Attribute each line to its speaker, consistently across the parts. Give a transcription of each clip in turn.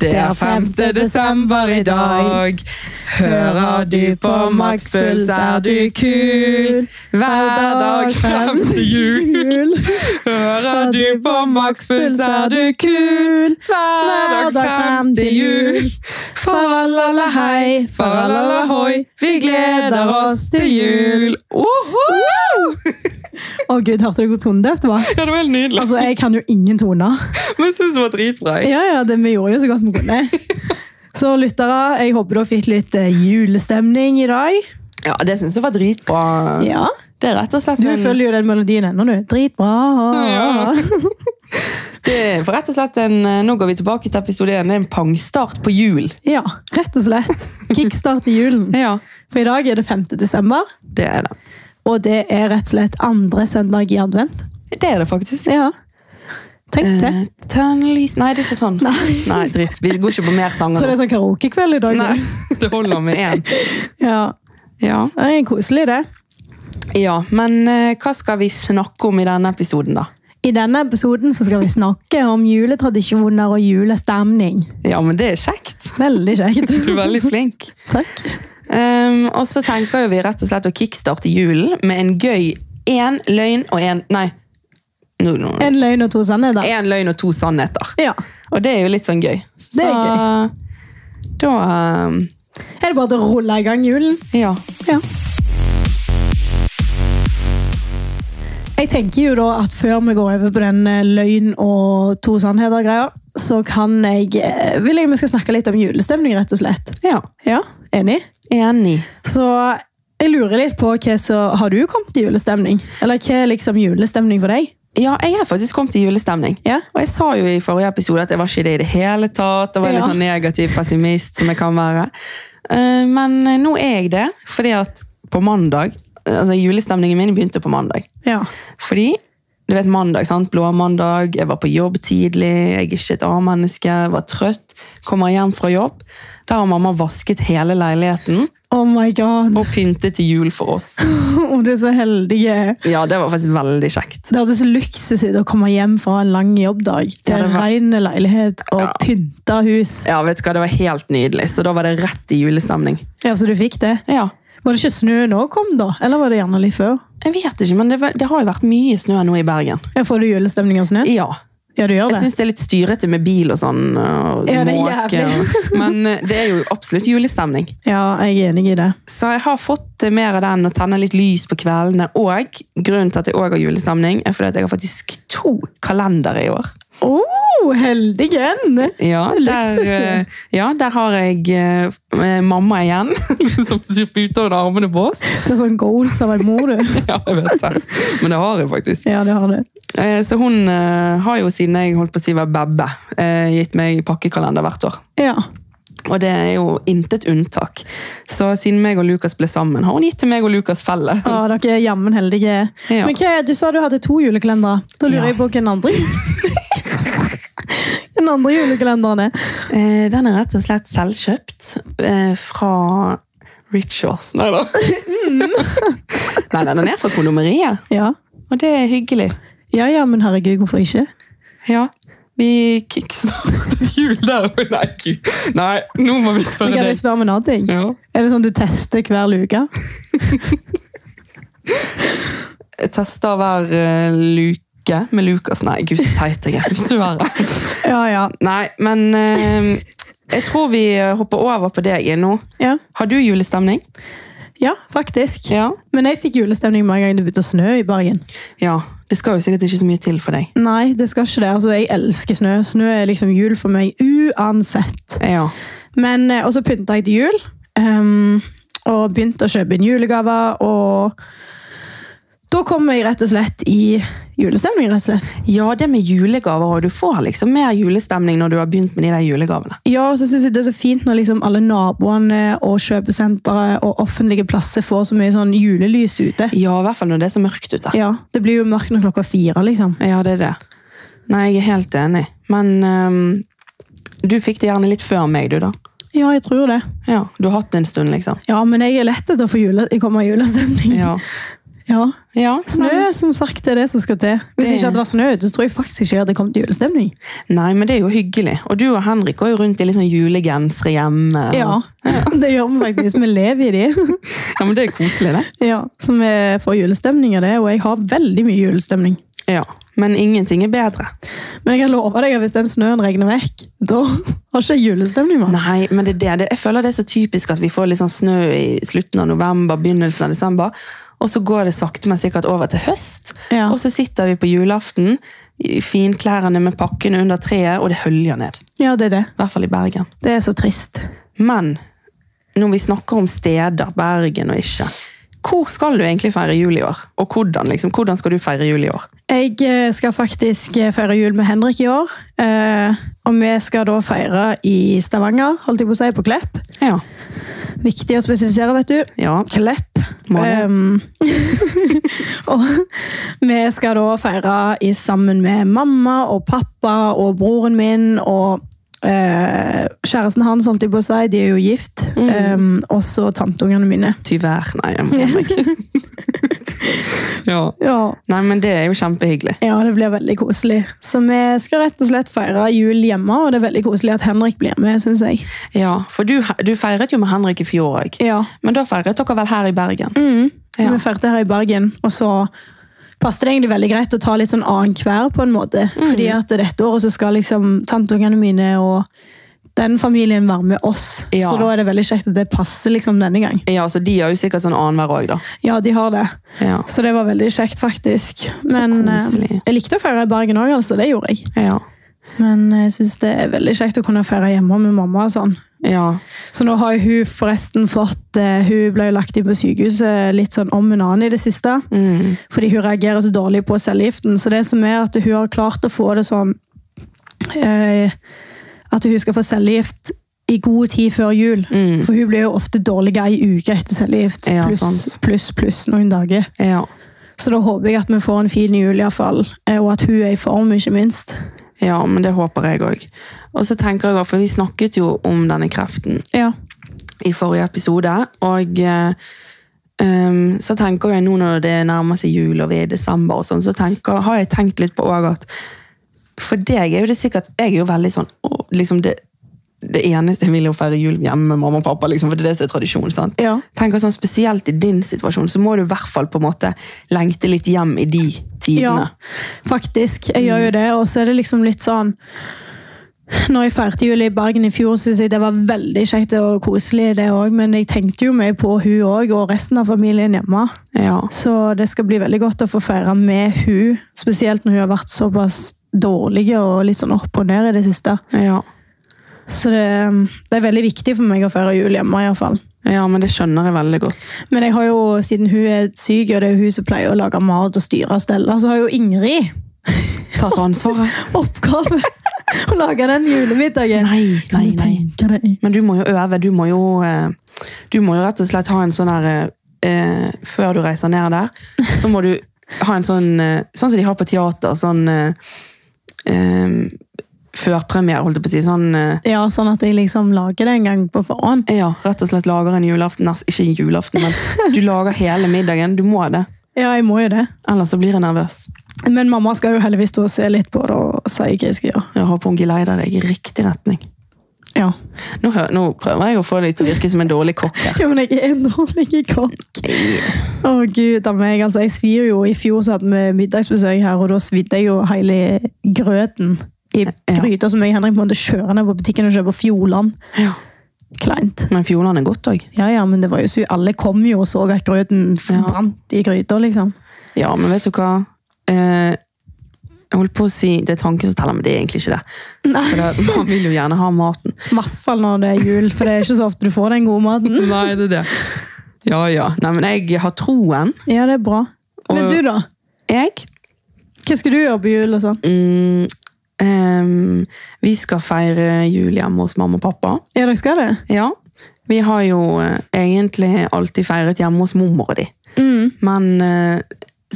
Speaker 1: Det er 5. desember i dag. Hører du på makspuls, er du kul. Hver dag frem til jul. Hører du på makspuls, er du kul. Hver dag frem til jul. Faralala hei, faralala hoi. Vi gleder oss til jul. Oho!
Speaker 2: Å gud, hørte du hvor tonedøvt det var?
Speaker 1: Ja, det var helt nydelig.
Speaker 2: Altså, Jeg kan jo ingen toner.
Speaker 1: Men jeg synes det var dritbra. jeg.
Speaker 2: Ja, ja, det, vi gjorde jo så godt vi kunne. Så lyttere, jeg håper dere fikk litt eh, julestemning i dag.
Speaker 1: Ja, det synes jeg var dritbra.
Speaker 2: Ja.
Speaker 1: Det er rett og slett
Speaker 2: Du
Speaker 1: en-
Speaker 2: følger jo den melodien ennå, du. Dritbra.
Speaker 1: Mm. Ja. Det er for rett og slett en, eh, Nå går vi tilbake til episode 1. Det er en pangstart på jul.
Speaker 2: Ja, rett og slett. Kickstart i julen.
Speaker 1: Ja.
Speaker 2: For i dag er det 5. desember,
Speaker 1: Det er det.
Speaker 2: og det er rett og slett andre søndag i advent.
Speaker 1: Det er det faktisk.
Speaker 2: Ja. Tenk det.
Speaker 1: Eh, Tenn lys Nei, det er ikke sånn. Nei, dritt. Vi går ikke på mer
Speaker 2: Så det
Speaker 1: sanger. nå.
Speaker 2: er sånn karaokekveld i dag.
Speaker 1: Nei,
Speaker 2: du.
Speaker 1: det holder med én.
Speaker 2: Ja.
Speaker 1: Ja.
Speaker 2: Det er koselig, det.
Speaker 1: ja, men eh, hva skal vi snakke om i denne episoden, da?
Speaker 2: I denne episoden så skal vi snakke om juletradisjoner og julestemning.
Speaker 1: Ja, men det er kjekt.
Speaker 2: Veldig kjekt.
Speaker 1: Du er veldig flink.
Speaker 2: Takk.
Speaker 1: Um, og så tenker jo vi rett og slett å kickstarte julen med en gøy én løgn og én Nei. No, no, no.
Speaker 2: En løgn og to sannheter.
Speaker 1: En løgn og to sannheter.
Speaker 2: Ja.
Speaker 1: Og det er jo litt sånn gøy.
Speaker 2: Det er
Speaker 1: gøy. Da um,
Speaker 2: Er det bare til å rulle i gang julen?
Speaker 1: Ja.
Speaker 2: Ja. Jeg tenker jo da at før vi går over på den eh, løgn og to sannheter-greia, så kan jeg, eh, vil jeg vi skal snakke litt om julestemning, rett og slett.
Speaker 1: ja.
Speaker 2: Ja, enig?
Speaker 1: Enig.
Speaker 2: Så jeg lurer litt på hva så Har du kommet til julestemning? Eller hva er liksom julestemning for deg?
Speaker 1: Ja, jeg har faktisk kommet i julestemning.
Speaker 2: Ja.
Speaker 1: Og jeg sa jo i forrige episode at jeg var ikke det i det hele tatt. Og var litt
Speaker 2: Ja.
Speaker 1: sånn negativ pessimist som jeg kan være. Eh, Men eh, nå er jeg det, fordi at på mandag Altså julestemningen min begynte på mandag.
Speaker 2: Ja.
Speaker 1: Fordi du vet mandag, sant? Blå mandag, jeg var på jobb tidlig, jeg er ikke et A-menneske, jeg var trøtt. Kommer hjem fra jobb. Der har mamma vasket hele leiligheten
Speaker 2: Oh my god,
Speaker 1: og pyntet til jul for oss.
Speaker 2: om du er så heldig.
Speaker 1: Ja, det var faktisk veldig kjekt.
Speaker 2: Det hørtes luksus ut å komme hjem fra en lang jobbdag til
Speaker 1: Ja, det
Speaker 2: en
Speaker 1: var-
Speaker 2: ren leilighet og
Speaker 1: Ja.
Speaker 2: pynta hus.
Speaker 1: Ja, vet du hva, det var helt nydelig, så da var det rett i julestemning.
Speaker 2: Ja, Så du fikk det?
Speaker 1: Ja,
Speaker 2: Var det ikke snø nå kom, da? Eller var det gjerne litt før?
Speaker 1: jeg vet ikke, men det, var- det har jo vært mye snø nå i Bergen.
Speaker 2: Ja, Får du julestemning av snø?
Speaker 1: Ja,
Speaker 2: Ja, du
Speaker 1: jeg
Speaker 2: gjør det.
Speaker 1: synes det er litt styrete med bil og sånn, og
Speaker 2: Ja, det er
Speaker 1: måke.
Speaker 2: jævlig.
Speaker 1: og- Men eh, det er jo absolutt julestemning.
Speaker 2: Ja, jeg er enig i det.
Speaker 1: Så jeg har fått eh, mer av den og tenner litt lys på kveldene. Og grunnen til at jeg også har julestemning, er fordi at jeg har faktisk to kalendere i år.
Speaker 2: Å, Oh, heldigen!
Speaker 1: Ja,
Speaker 2: Luksus,
Speaker 1: der,
Speaker 2: du.
Speaker 1: eh, ja, der har jeg eh, mamma igjen, som puter under armene på oss.
Speaker 2: Du er sånn goals av ei mor, du.
Speaker 1: Ja, jeg vet det. Men det har jeg faktisk.
Speaker 2: Ja, det har du.
Speaker 1: Eh, Så hun eh, har jo siden jeg holdt på å si var bebbe, eh, gitt meg pakkekalender hvert år.
Speaker 2: Ja.
Speaker 1: Og det er jo intet unntak. Så siden meg og Lukas ble sammen, har hun gitt til meg og Lukas felles.
Speaker 2: ja dere er jammen heldige.
Speaker 1: Ja.
Speaker 2: Men hva, du sa du hadde to julekalendere. Da lurer
Speaker 1: Ja.
Speaker 2: jeg på hvem andre Den andre julekalenderen er.
Speaker 1: Eh, Den er rett og slett selvkjøpt eh, fra Rituals. Nei da. nei, nei, den er fra kondomeriet,
Speaker 2: Ja.
Speaker 1: og det er hyggelig.
Speaker 2: ja, ja, men herregud, hvorfor ikke?
Speaker 1: Ja. Vi kickstartet jul der. Nei, gud. nei, nå må vi
Speaker 2: Men
Speaker 1: spørre
Speaker 2: kan jeg
Speaker 1: deg.
Speaker 2: spørre om en annen ting?
Speaker 1: Ja.
Speaker 2: Er det sånn du tester hver luke?
Speaker 1: Jeg tester hver eh, luke med Lukas. Nei, gud, så teit jeg er. Hvis du er her.
Speaker 2: Ja, ja.
Speaker 1: Nei, men eh, jeg tror vi hopper over på deg nå.
Speaker 2: Ja,
Speaker 1: Har du julestemning?
Speaker 2: ja faktisk.
Speaker 1: Ja.
Speaker 2: Men jeg fikk julestemning hver gang det begynte å snø i Bergen.
Speaker 1: ja. Det skal jo sikkert ikke så mye til for deg.
Speaker 2: Nei, det skal ikke det. Altså, jeg elsker snø. Snø er liksom jul for meg uansett.
Speaker 1: Ja.
Speaker 2: Men, eh, og så pynta jeg til jul. ehm, og begynte å kjøpe inn julegaver. Og da kom jeg rett og slett i julestemning, rett og slett.
Speaker 1: Ja, det med julegaver, og du får liksom mer julestemning når du har begynt med de der julegavene.
Speaker 2: Ja, og så synes jeg det er så fint når liksom alle naboene og kjøpesentre og offentlige plasser får så mye sånn julelys ute.
Speaker 1: Ja, i hvert fall når det er så mørkt ute.
Speaker 2: Ja, Det blir jo mørkt når klokka er fire, liksom.
Speaker 1: Ja, det er det. ehm, Nei, jeg er helt enig. Men øhm, du fikk det gjerne litt før meg, du da.
Speaker 2: Ja, jeg tror det.
Speaker 1: Ja, Du har hatt det en stund, liksom.
Speaker 2: Ja, men jeg er lett etter å få jule, jeg kommer i julestemning.
Speaker 1: Ja.
Speaker 2: Ja.
Speaker 1: ja men-
Speaker 2: Snø, som sagt, det er det som skal til. Hvis
Speaker 1: Det-
Speaker 2: ikke det var snø, så tror jeg faktisk ikke jeg hadde kommet i julestemning.
Speaker 1: Nei, men det er jo hyggelig. Og du og Henrik går jo rundt i litt sånn julegensere hjemme. og-
Speaker 2: Ja, det gjør vi faktisk. Vi lever i de.
Speaker 1: ja, men det er koselig, det.
Speaker 2: Ja, så vi får julestemning av det, og jeg har veldig mye julestemning.
Speaker 1: Ja, Men ingenting er bedre.
Speaker 2: Men jeg kan love deg at hvis den snøen regner vekk, da har ikke jeg julestemning mer.
Speaker 1: Nei, men det er det. det. Jeg føler det er så typisk at vi får litt sånn snø i slutten av november, begynnelsen av desember, og så går det sakte, men sikkert over til høst.
Speaker 2: Ja.
Speaker 1: Og så sitter vi på julaften, i finklærne med pakkene under treet, og det høljer ned.
Speaker 2: Ja, det er det.
Speaker 1: I hvert fall i Bergen.
Speaker 2: Det er så trist.
Speaker 1: Men når vi snakker om steder, Bergen og ikke, hvor skal du egentlig feire jul i år? Og hvordan, liksom? Hvordan skal du feire jul i år?
Speaker 2: Jeg eh, skal faktisk eh, feire jul med Henrik i år, eh, og vi skal da feire i Stavanger, holdt jeg på å si, på Klepp.
Speaker 1: Ja.
Speaker 2: Viktig å spesifisere, vet du.
Speaker 1: Ja.
Speaker 2: Klepp.
Speaker 1: Må det.
Speaker 2: Um, og vi skal da feire i, sammen med mamma og pappa og broren min og eh, kjæresten hans, holdt jeg på å si. De er jo gift. Um, og så tanteungene mine.
Speaker 1: Tyvær. Nei, jeg må meg. ja.
Speaker 2: Ja.
Speaker 1: Nei, men det er jo kjempehyggelig.
Speaker 2: ja, det blir veldig koselig. Så vi skal rett og slett feire jul hjemme, og det er veldig koselig at Henrik blir med, syns jeg.
Speaker 1: Ja, for du, du feiret jo med Henrik i fjor òg.
Speaker 2: Ja.
Speaker 1: Men da feiret dere vel her i Bergen?
Speaker 2: Mm.
Speaker 1: Ja.
Speaker 2: Vi feirte her i Bergen, og så passet det egentlig veldig greit å ta litt sånn annenhver på en måte.
Speaker 1: Mm.
Speaker 2: Fordi at dette året så skal liksom tanteungene mine og den familien være med oss.
Speaker 1: Ja.
Speaker 2: Så da er det veldig kjekt at det passer liksom denne gang.
Speaker 1: Ja, så De har jo sikkert sånn annenhver òg, da.
Speaker 2: Ja, de har det.
Speaker 1: Ja.
Speaker 2: Så det var veldig kjekt, faktisk. Men eh,
Speaker 1: koselig.
Speaker 2: jeg likte å feire i Bergen òg, altså. Det gjorde jeg.
Speaker 1: Ja.
Speaker 2: Men eh, jeg syns det er veldig kjekt å kunne feire hjemme med mamma og sånn.
Speaker 1: ja.
Speaker 2: Så nå har jo hun forresten fått eh, Hun ble jo lagt inn på sykehuset litt sånn om en annen i det siste.
Speaker 1: Mm.
Speaker 2: fordi hun reagerer så dårlig på cellegiften. Så det som er at hun har klart å få det sånn eh, At hun skal få cellegift i god tid før jul.
Speaker 1: Mm.
Speaker 2: For hun blir jo ofte dårlig ei uke etter cellegift.
Speaker 1: Ja,
Speaker 2: pluss,
Speaker 1: sant.
Speaker 2: pluss, pluss noen dager.
Speaker 1: ja.
Speaker 2: Så da håper jeg at vi får en fin jul, iallfall. eh, Og at hun er i form, ikke minst.
Speaker 1: Ja, men det håper jeg òg. Og så tenker jeg også, for vi snakket jo om denne kreften
Speaker 2: Ja.
Speaker 1: i forrige episode, og eh, ehm, så tenker jeg nå når det nærmer seg jul og vi er i desember og sånn, så tenker, har jeg tenkt litt på òg at for deg er jo det sikkert Jeg er jo veldig sånn å, liksom det, det eneste jeg vil er å feire jul hjemme med mamma og pappa, liksom, for det er det som er tradisjon. sant?
Speaker 2: Ja.
Speaker 1: tenker sånn Spesielt i din situasjon så må du i hvert fall på en måte lengte litt hjem i de tidene.
Speaker 2: faktisk. Jeg gjør jo det, og så er det liksom litt sånn når jeg feirte jul i Bergen i fjor, synes jeg det var veldig kjekt og koselig, det også, men jeg tenkte jo mye på hun òg, og resten av familien hjemme.
Speaker 1: Ja.
Speaker 2: Så det skal bli veldig godt å få feire med hun, spesielt når hun har vært såpass dårlig og litt sånn opp og ned i det siste.
Speaker 1: Ja.
Speaker 2: Så det, um, det er veldig viktig for meg å feire jul hjemme, iallfall.
Speaker 1: ja, men det skjønner jeg veldig godt.
Speaker 2: Men jeg har jo, siden hun er syk, og det er hun som pleier å lage mat og styre og stelle, så har jo Ingrid
Speaker 1: Tatt ansvaret.
Speaker 2: oppgave å lage den julemiddagen.
Speaker 1: Nei, nei,
Speaker 2: Kan du
Speaker 1: nei.
Speaker 2: tenke deg?
Speaker 1: Men du må jo øve. Du må jo, eh, du må jo rett og slett ha en sånn her eh, Før du reiser ned der, så må du ha en sånn eh, Sånn som de har på teater. Sånn eh, eh, førpremiere, holdt jeg på å si. Sånn eh,
Speaker 2: Ja, sånn at jeg liksom lager det en gang på forhånd.
Speaker 1: Ja, rett og slett lager en julaften. Nei, Ikke en julaften, men du lager hele middagen. Du må det.
Speaker 2: Ja, jeg må jo det.
Speaker 1: Ellers så blir jeg nervøs.
Speaker 2: Men mamma skal jo heldigvis stå og se litt på det og si hva jeg skal gjøre.
Speaker 1: Jeg håper hun geleider deg i riktig retning.
Speaker 2: Ja.
Speaker 1: Nå, hø- nå prøver jeg å få deg til å virke som en dårlig kokk her.
Speaker 2: ja, men jeg er en dårlig kokk. Å gud, da meg, altså jeg svir jo. I fjor så hadde vi middagsbesøk her, og da svidde jeg jo hele grøten i
Speaker 1: Ja.
Speaker 2: gryta som jeg og Henrik måtte kjøre ned på butikken og kjøpe Fjordland.
Speaker 1: Ja.
Speaker 2: Kleint.
Speaker 1: Men Fjordland er godt òg.
Speaker 2: Ja, ja, men det var jo så, alle kom jo og så at grøten f-
Speaker 1: Ja.
Speaker 2: brant i gryta, liksom.
Speaker 1: Ja, men vet du hva? Eh, jeg holdt på å si det er tanken som teller, men det er egentlig ikke det.
Speaker 2: Nei.
Speaker 1: For det, Man vil jo gjerne ha maten.
Speaker 2: I hvert fall når det er jul, for det er ikke så ofte du får den gode maten.
Speaker 1: Nei, det er det. Ja, ja. Nei, men jeg har troen.
Speaker 2: Ja, det er bra. Men
Speaker 1: Og-
Speaker 2: du, da?
Speaker 1: Jeg
Speaker 2: Hva skal du gjøre på jul og sånn?
Speaker 1: mm, ehm, Vi skal feire jul hjemme hos mamma og pappa.
Speaker 2: Ja, dere skal det?
Speaker 1: Ja, vi har jo eh, egentlig alltid feiret hjemme hos mormor og de. Men eh,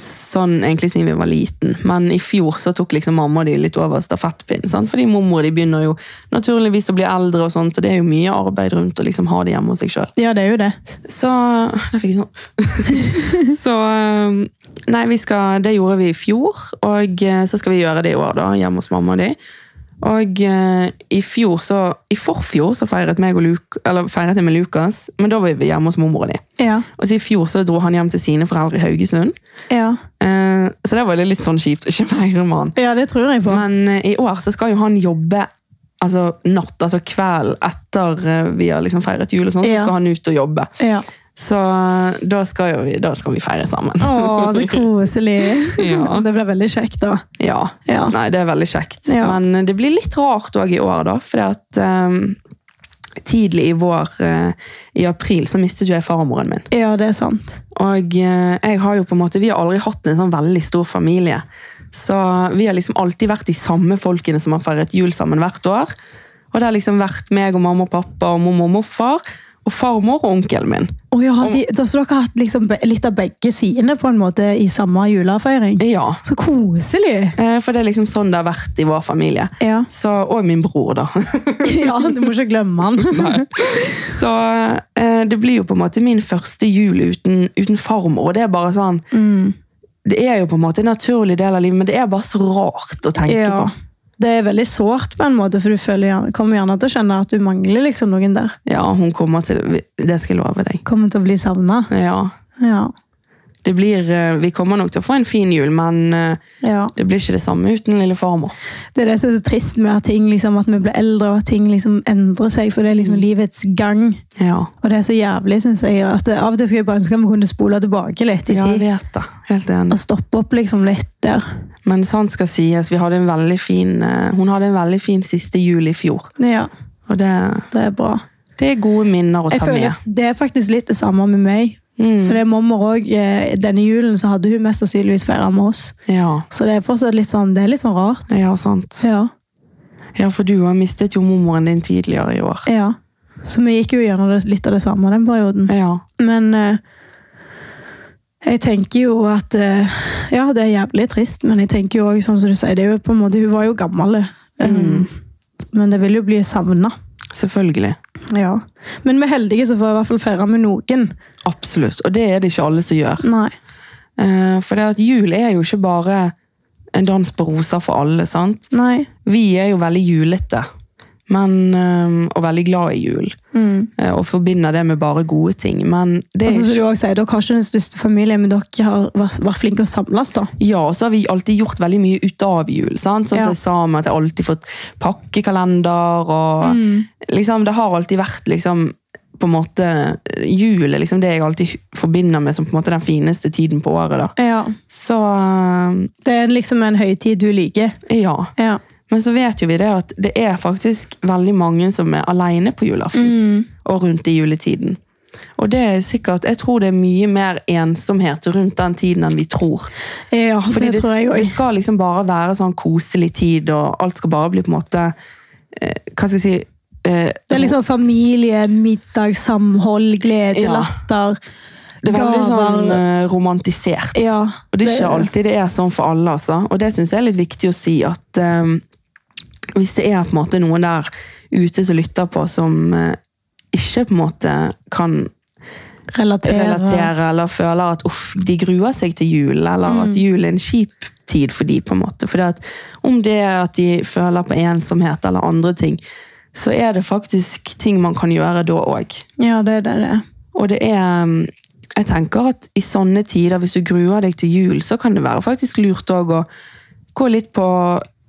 Speaker 1: sånn egentlig siden vi var liten. Men i fjor så tok liksom mamma og de litt over stafettpinnen. Sant? Fordi mamma og de begynner jo naturligvis å bli eldre, og sånt, og det er jo mye arbeid rundt å liksom ha det hjemme hos seg sjøl.
Speaker 2: Ja, det er jo det.
Speaker 1: Så Da fikk jeg sånn. så um, Nei, vi skal, det gjorde vi i fjor, og eh, så skal vi gjøre det i år, da, hjemme hos mamma og de. Og eh, i fjor så, i forfjor så feiret, meg og Luk, eller feiret jeg med Lukas, men da var vi hjemme hos mormor og de.
Speaker 2: Ja.
Speaker 1: Og så i fjor så dro han hjem til sine foreldre i Haugesund.
Speaker 2: Ja,
Speaker 1: Eh, så det var litt sånn kjipt å ikke feire med han.
Speaker 2: ja det tror jeg på.
Speaker 1: Men eh, i år så skal jo han jobbe altså natt, altså kveld etter eh, vi har liksom feiret jul og sånn,
Speaker 2: Ja.
Speaker 1: så skal han ut og jobbe.
Speaker 2: Ja.
Speaker 1: Så eh, da skal, jo vi, da skal vi feire sammen.
Speaker 2: Å, så koselig.
Speaker 1: Ja.
Speaker 2: Det blir veldig kjekt, da.
Speaker 1: Ja.
Speaker 2: Ja.
Speaker 1: Nei, det er veldig kjekt.
Speaker 2: Ja.
Speaker 1: Men eh, det blir litt rart òg i år, da. Fordi at eh, tidlig i vår, eh, i april, så mistet jo jeg farmoren min.
Speaker 2: Ja, det er sant.
Speaker 1: Og eh, jeg har jo på en måte, vi har aldri hatt en sånn veldig stor familie. Så vi har liksom alltid vært de samme folkene som har feiret jul sammen hvert år. Og det har liksom vært meg og mamma og pappa og mormor og morfar og farmor og onkelen min.
Speaker 2: Å, ja, de, da, så dere har hatt liksom be- litt av begge sidene på en måte i samme julefeiring?
Speaker 1: Ja,
Speaker 2: Så koselig!
Speaker 1: eh, for det er liksom sånn det har vært i vår familie.
Speaker 2: Ja.
Speaker 1: Så, og min bror, da.
Speaker 2: ja, du må ikke glemme han.
Speaker 1: Så eh, det blir jo på en måte min første jul uten, uten farmor. Og det er bare sånn
Speaker 2: Mm.
Speaker 1: Det er jo på en måte en naturlig del av livet, men det er bare så rart å tenke
Speaker 2: Ja.
Speaker 1: på.
Speaker 2: Det er veldig sårt, på en måte, for du føler, gjerne- kommer gjerne til å kjenne at du mangler liksom noen der.
Speaker 1: Ja, hun kommer til Det skal jeg love deg.
Speaker 2: Kommer til å bli savna.
Speaker 1: Ja.
Speaker 2: Ja.
Speaker 1: Det blir, eh, vi kommer nok til å få en fin jul, men eh,
Speaker 2: ja.
Speaker 1: det blir ikke det samme uten lille farmor.
Speaker 2: Det er det som er så trist med at, ting, liksom, at vi blir eldre, og at ting liksom endrer seg, for det er
Speaker 1: Mm.
Speaker 2: liksom livets gang.
Speaker 1: Ja.
Speaker 2: Og det er så jævlig, syns jeg. At det, av og til skulle jeg bare ønske at vi kunne spole tilbake litt i
Speaker 1: ja, jeg
Speaker 2: tid.
Speaker 1: vet det. Helt enig.
Speaker 2: Og stoppe opp liksom litt der.
Speaker 1: Men sant skal sies, vi hadde en veldig fin, eh, hun hadde en veldig fin siste jul i fjor.
Speaker 2: Ja,
Speaker 1: Og det,
Speaker 2: det er bra.
Speaker 1: det er gode minner å
Speaker 2: Jeg
Speaker 1: ta
Speaker 2: føler
Speaker 1: med.
Speaker 2: Det er faktisk litt det samme med meg.
Speaker 1: Mm.
Speaker 2: For det er mamma òg. Denne julen så hadde hun mest sannsynligvis feira med oss.
Speaker 1: Mm, Ja.
Speaker 2: Så det er fortsatt litt sånn, det er litt sånn rart.
Speaker 1: ja, sant.
Speaker 2: Ja.
Speaker 1: Ja, for du har mistet jo mormoren din tidligere i år.
Speaker 2: ja. Så vi gikk jo gjennom det, litt av det samme den perioden.
Speaker 1: Ja.
Speaker 2: Men eh, jeg tenker jo at eh, Ja, det er jævlig trist, men jeg tenker jo også, sånn som du sier, det er jo på en måte, hun var jo gammel. eh,
Speaker 1: Mm.
Speaker 2: Men det vil jo bli savna.
Speaker 1: Selvfølgelig.
Speaker 2: Ja. Men vi er heldige som får jeg i hvert fall feire med noen.
Speaker 1: Absolutt. Og det er det ikke alle som gjør.
Speaker 2: Nei.
Speaker 1: Eh, For det at jul er jo ikke bare en dans på roser for alle, sant?
Speaker 2: Nei.
Speaker 1: Vi er jo veldig julete, men, eh, og veldig glad i jul. eh, Og forbinder det med bare gode ting. Men det
Speaker 2: Mm. Og
Speaker 1: er
Speaker 2: så som du
Speaker 1: ikke...
Speaker 2: også sier, Dere har ikke den største familien, men dere har vært, vært flinke å samles. da.
Speaker 1: Ja, og så har vi alltid gjort veldig mye ut av jul. sant? Sånn
Speaker 2: Ja.
Speaker 1: som jeg sa med at jeg alltid fått pakkekalender, og liksom, det har alltid vært liksom på en måte, Jul er liksom det jeg alltid forbinder med som på en måte den fineste tiden på året. da.
Speaker 2: Ja.
Speaker 1: Så eh,
Speaker 2: Det er liksom en høytid du liker.
Speaker 1: ja.
Speaker 2: Ja.
Speaker 1: Men så vet jo vi det at det er faktisk veldig mange som er alene på julaften. Og rundt i juletiden. Og det er sikkert, jeg tror det er mye mer ensomhet rundt den tiden enn vi tror.
Speaker 2: ja
Speaker 1: Fordi
Speaker 2: det tror jeg
Speaker 1: det
Speaker 2: òg.
Speaker 1: skal liksom bare være sånn koselig tid, og alt skal bare bli på en måte eh, Hva skal jeg si eh,
Speaker 2: Det er liksom familie, middag, samhold, glede,
Speaker 1: Ja.
Speaker 2: latter.
Speaker 1: det er veldig sånn
Speaker 2: gaver.
Speaker 1: eh, romantisert.
Speaker 2: Ja,
Speaker 1: Og det er ikke
Speaker 2: det-
Speaker 1: alltid det er sånn for alle, altså. Og det syns jeg er litt viktig å si at eh, hvis det er på en måte noen der ute som lytter på, som eh, ikke på en måte kan
Speaker 2: Relatere.
Speaker 1: relatere eller føler at uff, de gruer seg til jul, eller at jul er en kjip tid for de på en måte. For at, om det er at de føler på ensomhet eller andre ting, så er det faktisk ting man kan gjøre da òg.
Speaker 2: Ja, det er det. det. er.
Speaker 1: Og det er um, Jeg tenker at i sånne tider, hvis du gruer deg til jul, så kan det være faktisk lurt òg å gå litt på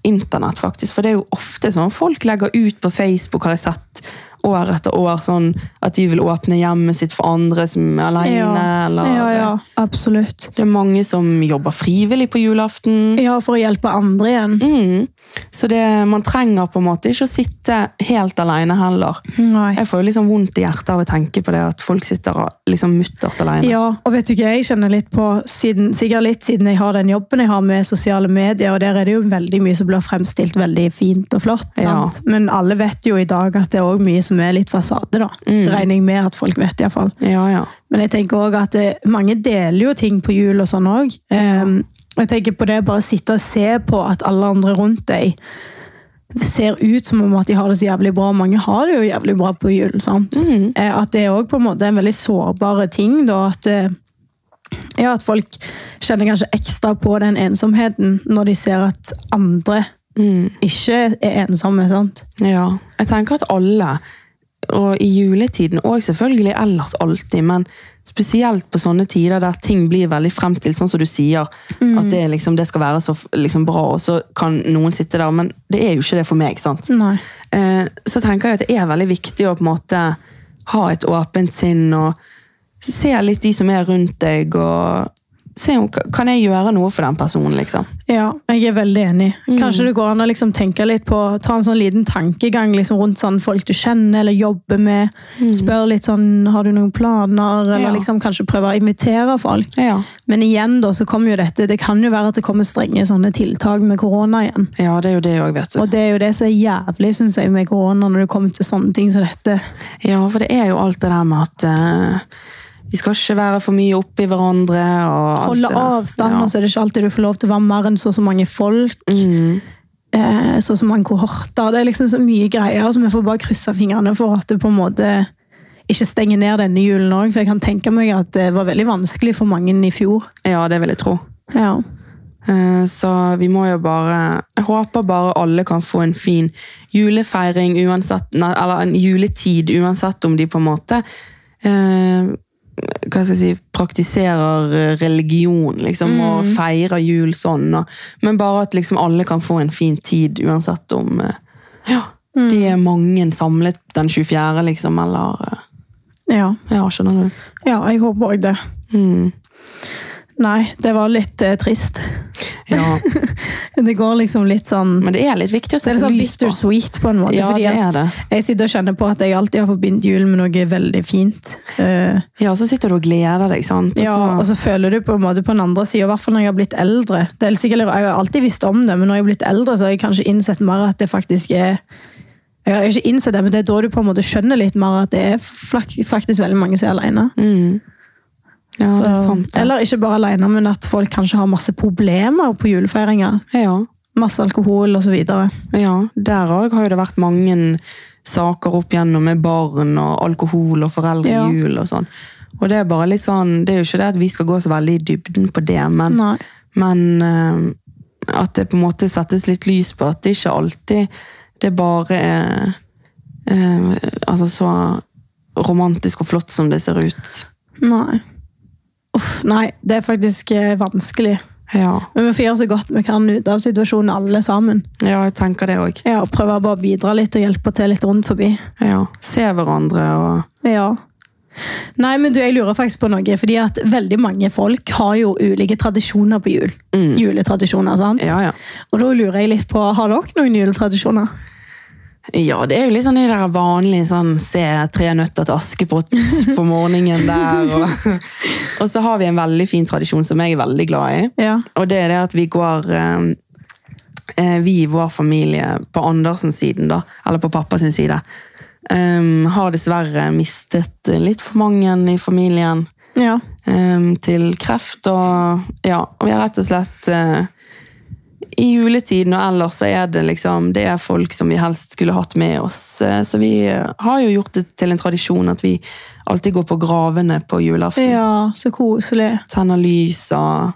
Speaker 1: internett, faktisk. For det er jo ofte sånn folk legger ut på Facebook, har jeg sett år etter år, sånn at de vil åpne hjemmet sitt for andre som er aleine,
Speaker 2: ja.
Speaker 1: eller
Speaker 2: ja, ja, absolutt.
Speaker 1: Det er mange som jobber frivillig på julaften.
Speaker 2: Ja, for å hjelpe andre igjen.
Speaker 1: Mm. Så det, man trenger på en måte ikke å sitte helt aleine heller.
Speaker 2: Nei.
Speaker 1: Jeg får jo liksom vondt i hjertet av å tenke på det at folk sitter liksom mutters aleine.
Speaker 2: Ja, og vet du hva jeg kjenner litt på, siden, sikkert litt siden jeg har den jobben jeg har med sosiale medier, og der er det jo veldig mye som blir fremstilt veldig fint og flott, sant? Men alle vet jo i dag at det er også mye som som er litt fasade, da.
Speaker 1: Mm.
Speaker 2: Regner jeg med at folk vet, iallfall.
Speaker 1: Ja, ja.
Speaker 2: Men jeg tenker også at eh, mange deler jo ting på jul og sånn òg. jeg tenker på det å bare sitte og se på at alle andre rundt deg ser ut som om at de har det så jævlig bra. Mange har det jo jævlig bra på jul. sant? Eh, At det er òg på en måte en veldig sårbar ting. da, at eh, ja, at folk kjenner kanskje ekstra på den ensomheten når de ser at andre ikke er ensomme. sant?
Speaker 1: Ja. Jeg tenker at alle, og i juletiden og selvfølgelig ellers alltid, men spesielt på sånne tider der ting blir veldig fremstilt, sånn som du sier, at det, liksom, det skal være så liksom, bra, og så kan noen sitte der, men det er jo ikke det for meg, sant?
Speaker 2: Nei.
Speaker 1: Eh, så tenker jeg at det er veldig viktig å på en måte ha et åpent sinn og se litt de som er rundt deg, og se om kan jeg gjøre noe for den personen, liksom.
Speaker 2: Ja, jeg er veldig enig.
Speaker 1: Mm.
Speaker 2: Kanskje det går an å liksom tenke litt på, ta en sånn liten tankegang liksom rundt sånn folk du kjenner eller jobber med. Spør litt sånn har du noen planer, eller
Speaker 1: Mm. Ja.
Speaker 2: liksom kanskje prøve å invitere folk.
Speaker 1: Ja,
Speaker 2: Men igjen da, så kommer jo dette, det kan jo være at det kommer strenge sånne tiltak med korona igjen.
Speaker 1: ja det er jo det jeg vet. Du.
Speaker 2: Og det er jo det som er jævlig, synes jeg, med korona, når det kommer til sånne ting som dette.
Speaker 1: Ja, for det er jo alt det der med at eh, vi skal ikke være for mye oppi hverandre. og alt
Speaker 2: Holde
Speaker 1: det der.
Speaker 2: avstand,
Speaker 1: Ja.
Speaker 2: og så er det ikke alltid du får lov til å være mer enn så og så mange folk.
Speaker 1: Mm.
Speaker 2: Eh, så og så mange kohorter. Det er liksom så mye greier, så vi får bare krysse fingrene for at det på en måte ikke stenger ned denne julen òg. For jeg kan tenke meg at det var veldig vanskelig for mange i fjor.
Speaker 1: Ja, det vil jeg tro.
Speaker 2: Ja.
Speaker 1: Eh, Så vi må jo bare Jeg håper bare alle kan få en fin julefeiring uansett nei, Eller en juletid uansett om de på en måte eh, Hva skal jeg si Praktiserer eh, religion,
Speaker 2: Mm.
Speaker 1: liksom, og feirer jul sånn. Og, men bare at liksom alle kan få en fin tid uansett om eh, Ja,
Speaker 2: Mm.
Speaker 1: de er mange samlet den 24., liksom, eller eh,
Speaker 2: Ja,
Speaker 1: Ja, skjønner du.
Speaker 2: ja jeg håper òg det.
Speaker 1: Mm.
Speaker 2: Nei, det var litt eh, trist.
Speaker 1: Ja,
Speaker 2: Det går liksom litt sånn
Speaker 1: men det er litt viktig å
Speaker 2: Det
Speaker 1: sette
Speaker 2: er litt sånn
Speaker 1: lys på.
Speaker 2: bittersweet på en måte.
Speaker 1: Ja,
Speaker 2: fordi
Speaker 1: det er
Speaker 2: at
Speaker 1: det.
Speaker 2: Jeg sitter og kjenner på at jeg alltid har forbindt jul med noe veldig fint. Eh,
Speaker 1: Ja, så sitter du og gleder deg, sant?
Speaker 2: ja,
Speaker 1: så-
Speaker 2: og så føler du på en måte på den andre siden, i hvert fall når jeg har blitt eldre. Det er sikkert, jeg har alltid visst om det, men når jeg har blitt eldre, så har jeg kanskje innsett mer at det faktisk er Jeg har ikke innsett det, men det er da du på en måte skjønner litt mer at det er flak, faktisk veldig mange som er alene.
Speaker 1: Mm. Ja, det er
Speaker 2: Så-
Speaker 1: sant. det.
Speaker 2: Eller ikke bare alene, men at folk kanskje har masse problemer på julefeiringer.
Speaker 1: ja,
Speaker 2: Masse alkohol osv.
Speaker 1: ja, der òg har jo det vært mange saker opp gjennom med barn og alkohol og
Speaker 2: Ja.
Speaker 1: foreldrejul og sånn. Og det er bare litt sånn, det er jo ikke det at vi skal gå så veldig i dybden på det, men,
Speaker 2: Nei.
Speaker 1: men eh, at det på en måte settes litt lys på at det ikke alltid det bare er eh, altså så romantisk og flott som det ser ut.
Speaker 2: Nei. Uff, nei, det er faktisk eh, vanskelig.
Speaker 1: Ja,
Speaker 2: Men vi får gjøre så godt vi kan ut av situasjonen, alle sammen.
Speaker 1: ja jeg tenker det òg.
Speaker 2: Ja, og Prøve å bare bidra litt og hjelpe til litt rundt forbi.
Speaker 1: Ja. Se hverandre og
Speaker 2: Ja. Nei, men du, jeg lurer faktisk på noe, fordi at veldig mange folk har jo ulike tradisjoner på jul. Juletradisjoner, sant?
Speaker 1: Mm. Ja, ja.
Speaker 2: Og da lurer jeg litt på, har dere noen juletradisjoner?
Speaker 1: Ja, det er jo litt sånn de der vanlige sånn se tre nøtter til Askepott på morgenen der. Og, og så har vi en veldig fin tradisjon som jeg er veldig glad i.
Speaker 2: Ja.
Speaker 1: Og det er det at vi går eh, eh, Vi i vår familie, på Andersens siden, da, eller på pappas side, eh, har dessverre mistet litt for mange i familien
Speaker 2: Ja.
Speaker 1: eh, til kreft. Og ja, og vi har rett og slett eh, I juletiden og ellers så er det liksom det er folk som vi helst skulle hatt med oss. eh, Så vi eh, har jo gjort det til en tradisjon at vi alltid går på gravene på julaften.
Speaker 2: ja, så koselig.
Speaker 1: Tenner lys og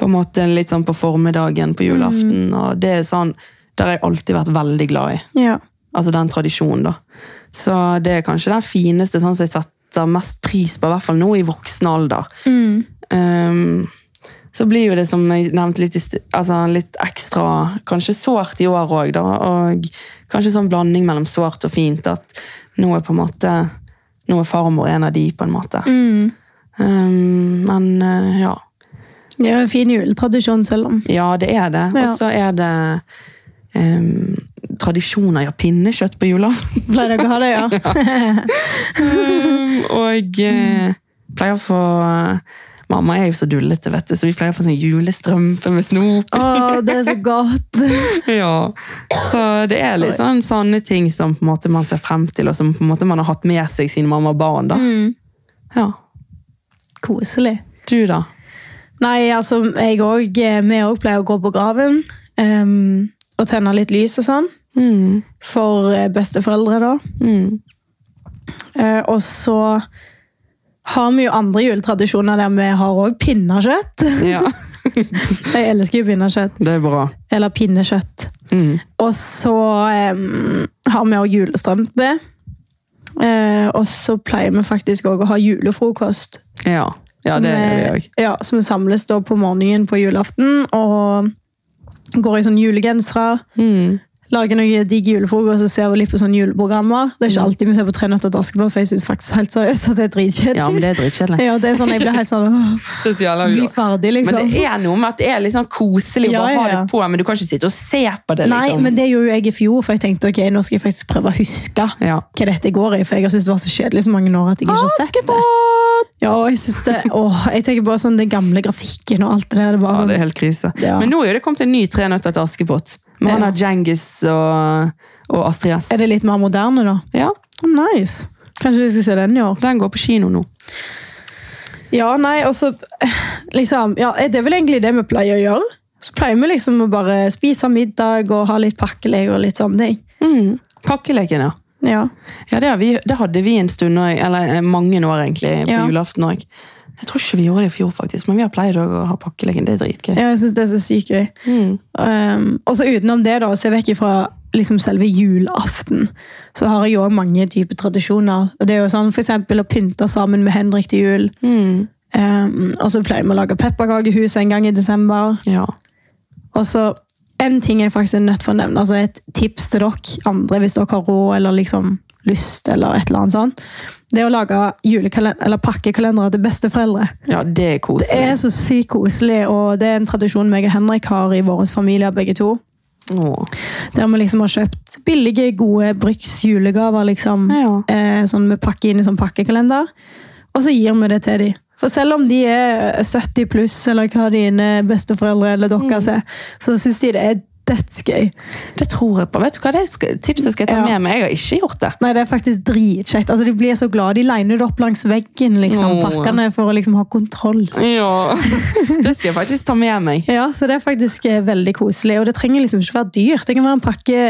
Speaker 1: på en måte litt sånn på formiddagen på julaften. Og det er sånn Der har jeg alltid vært veldig glad i.
Speaker 2: Ja.
Speaker 1: Altså den tradisjonen, da. Så det er kanskje den fineste sånn som jeg setter mest pris på, i hvert fall nå i voksen alder.
Speaker 2: Mm.
Speaker 1: Ehm, så blir jo det, som jeg nevnte, litt, i st- altså litt ekstra kanskje sårt i år òg, da. Og kanskje sånn blanding mellom sårt og fint. At nå er på en måte Nå er farmor en av de, på en måte.
Speaker 2: Mm.
Speaker 1: Ehm, men eh, ja.
Speaker 2: Det er jo en fin juletradisjon, selv om.
Speaker 1: Ja, det er det.
Speaker 2: Ja.
Speaker 1: Og så er det ehm, tradisjoner. Ja, pinnekjøtt på julaften.
Speaker 2: Pleier dere å ha det, ja?
Speaker 1: Ehm, og eh, pleier å få Mamma er jo så dullete, vet du, så vi pleier å få sånn julestrømpe med snop.
Speaker 2: Å, det er så godt!
Speaker 1: Ja. Så det er litt sånn sånne ting som på en måte man ser frem til, og som på en måte man har hatt med seg siden man var barn. da. Ja.
Speaker 2: Mm. Koselig.
Speaker 1: Du, da?
Speaker 2: Nei, altså, jeg òg Vi òg pleier å gå på graven ehm, og tenne litt lys og sånn.
Speaker 1: Mm.
Speaker 2: For eh, besteforeldre, da.
Speaker 1: Mm.
Speaker 2: Eh, og så har vi jo andre juletradisjoner der vi har òg pinnekjøtt.
Speaker 1: Ja,
Speaker 2: Jeg elsker jo pinnekjøtt.
Speaker 1: det er bra.
Speaker 2: Eller pinnekjøtt.
Speaker 1: Mm.
Speaker 2: Og så eh, har vi òg julestrømpe. Eh, og så pleier vi faktisk òg å ha julefrokost.
Speaker 1: Ja. ja,
Speaker 2: Som
Speaker 1: det gjør vi
Speaker 2: er-
Speaker 1: òg.
Speaker 2: Ja, som samles da på morgenen på julaften. Og går i sånn julegensere.
Speaker 1: Mm.
Speaker 2: Lager noe digg julefrokost og ser vi litt på sånne juleprogrammer. Det er
Speaker 1: Mm.
Speaker 2: ikke alltid vi ser på Tre nøtter til Askepott, for jeg synes faktisk helt seriøst at det er dritkjedelig.
Speaker 1: Ja, men det er dritkjedelig.
Speaker 2: Ja, det er sånn jeg blir helt sånn åh,
Speaker 1: Det er så jævla
Speaker 2: Bli
Speaker 1: bra.
Speaker 2: ferdig,
Speaker 1: Men
Speaker 2: liksom.
Speaker 1: det er noe med at det er litt sånn koselig å
Speaker 2: Ja,
Speaker 1: bare ha
Speaker 2: ja, ja.
Speaker 1: det på, men du kan ikke sitte og se på det.
Speaker 2: Nei,
Speaker 1: liksom.
Speaker 2: men det gjorde jo jeg i fjor, for jeg tenkte ok, nå skal jeg faktisk prøve å huske
Speaker 1: Ja.
Speaker 2: hva dette går i, for jeg har syntes det var så kjedelig så mange år at jeg ikke har sett det.
Speaker 1: Askepott!
Speaker 2: Ja, og jeg synes det, åh, jeg tenker bare sånn den gamle grafikken og alt det der, det var
Speaker 1: Ja,
Speaker 2: sånn,
Speaker 1: det er helt krise.
Speaker 2: Ja.
Speaker 1: Men nå er jo det kommet en ny Tre nøtter til Askepott. Med han
Speaker 2: Ja.
Speaker 1: har Djengis og, og Astrid S.
Speaker 2: er det litt mer moderne da?
Speaker 1: Ja,
Speaker 2: Å, Nice. Kanskje vi skal se den i år?
Speaker 1: den går på kino nå.
Speaker 2: Ja, nei, og så liksom, ja, det er vel egentlig det vi pleier å gjøre. Så pleier vi liksom å bare spise middag og ha litt pakkeleg og litt sånne ting.
Speaker 1: Mm. Pakkeleken, ja.
Speaker 2: Ja.
Speaker 1: Ja, det, har vi, det hadde vi en stund, nå, eller eh, mange år egentlig, på
Speaker 2: Ja.
Speaker 1: julaften òg. Jeg tror ikke vi gjorde det i fjor, faktisk, men vi har pleid også å ha pakkeleken. Det er dritgøy.
Speaker 2: Ja, jeg synes det er så sykt gøy.
Speaker 1: Mm.
Speaker 2: Um, og så utenom det, da, å se vekk fra liksom selve julaften, så har jeg jo også mange typer tradisjoner. Og det er jo sånn for eksempel å pynte sammen med Henrik til jul.
Speaker 1: Mm.
Speaker 2: Um, og så pleier vi å lage pepperkakehus en gang i desember.
Speaker 1: Ja.
Speaker 2: Og så en ting jeg faktisk er nødt for å nevne, altså et tips til dere andre hvis dere har råd eller liksom lyst eller et eller annet sånt, det er å lage julekalender, eller pakkekalendere til besteforeldre.
Speaker 1: ja, det er
Speaker 2: Det er
Speaker 1: koselig.
Speaker 2: så sykt koselig, og det er en tradisjon meg og Henrik har i våre familier begge to.
Speaker 1: Åh.
Speaker 2: Der vi liksom har kjøpt billige, gode bruks julegaver, liksom.
Speaker 1: Ja.
Speaker 2: Eh, sånn vi pakker inn i sånn pakkekalender. Og så gir vi det til dem. For selv om de er 70 pluss, eller hva dine besteforeldre eller dere
Speaker 1: Mm.
Speaker 2: er, så syns de det er dødsgøy.
Speaker 1: Det tror jeg på. Vet du hva, det skal, tipset skal jeg ta
Speaker 2: Ja.
Speaker 1: med meg. Jeg har ikke gjort det.
Speaker 2: Nei, det er faktisk dritkjekt. Altså, de blir så glad. De liner det opp langs veggen, liksom,
Speaker 1: Åh.
Speaker 2: pakkene, for å liksom ha kontroll.
Speaker 1: Ja. det skal jeg faktisk ta med meg.
Speaker 2: Ja, så det er faktisk eh, veldig koselig. Og det trenger liksom ikke være dyrt. Det kan være en pakke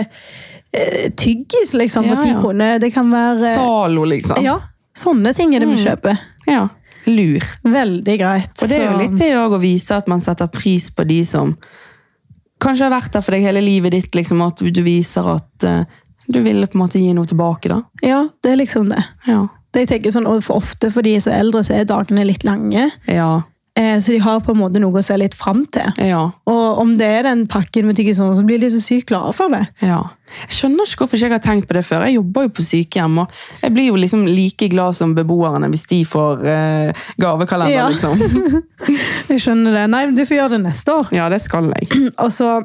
Speaker 2: eh, tyggis, liksom,
Speaker 1: Ja,
Speaker 2: for ti
Speaker 1: ja.
Speaker 2: kroner. Det kan være eh,
Speaker 1: Zalo, liksom.
Speaker 2: Ja, sånne ting er det vi kjøper.
Speaker 1: Ja. Lurt.
Speaker 2: Veldig greit.
Speaker 1: Mm. Og det er jo
Speaker 2: så-
Speaker 1: litt det òg å vise at man setter pris på de som kanskje har vært der for deg hele livet ditt, liksom, at du viser at eh, du vil på en måte gi noe tilbake, da.
Speaker 2: Ja, det er liksom det.
Speaker 1: Ja.
Speaker 2: Det jeg tenker sånn, og for Ofte for de som er eldre, så er dagene litt lange.
Speaker 1: Ja.
Speaker 2: Eh, så de har på en måte noe å se litt fram til.
Speaker 1: Ja.
Speaker 2: Og om det er den pakken med tyggis, sånn, så blir de så sykt glade for det.
Speaker 1: ja. Jeg skjønner ikke hvorfor ikke jeg har tenkt på det før. Jeg jobber jo på sykehjem, og jeg blir jo liksom like glad som beboerne hvis de får eh, gavekalender,
Speaker 2: Ja.
Speaker 1: liksom.
Speaker 2: Jeg skjønner det. Nei, men du får gjøre det neste år.
Speaker 1: Ja, det skal jeg.
Speaker 2: Og så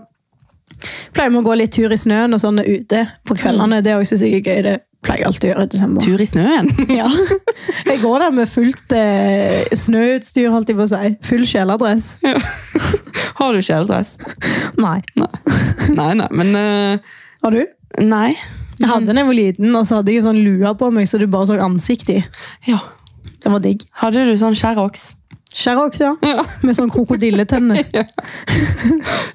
Speaker 2: pleier vi å gå litt tur i snøen og sånn ute på kveldene. Det er også sikkert gøy. Det pleier jeg alltid å gjøre i desember.
Speaker 1: Tur i snøen.
Speaker 2: Ja. Jeg går der med fullt eh, snøutstyr, holdt jeg på å si. Full kjeledress.
Speaker 1: Ja. Har du kjeledress?
Speaker 2: Nei.
Speaker 1: Nei. Nei, nei, men eh,
Speaker 2: Har du?
Speaker 1: Nei.
Speaker 2: Jeg hadde den jeg var liten, og så hadde jeg sånn lua på meg, så du bare så ansiktet i.
Speaker 1: Ja.
Speaker 2: Det var digg.
Speaker 1: Hadde du sånn skjæroks?
Speaker 2: Sherrox, ja.
Speaker 1: Ja.
Speaker 2: Med sånn krokodilletenner.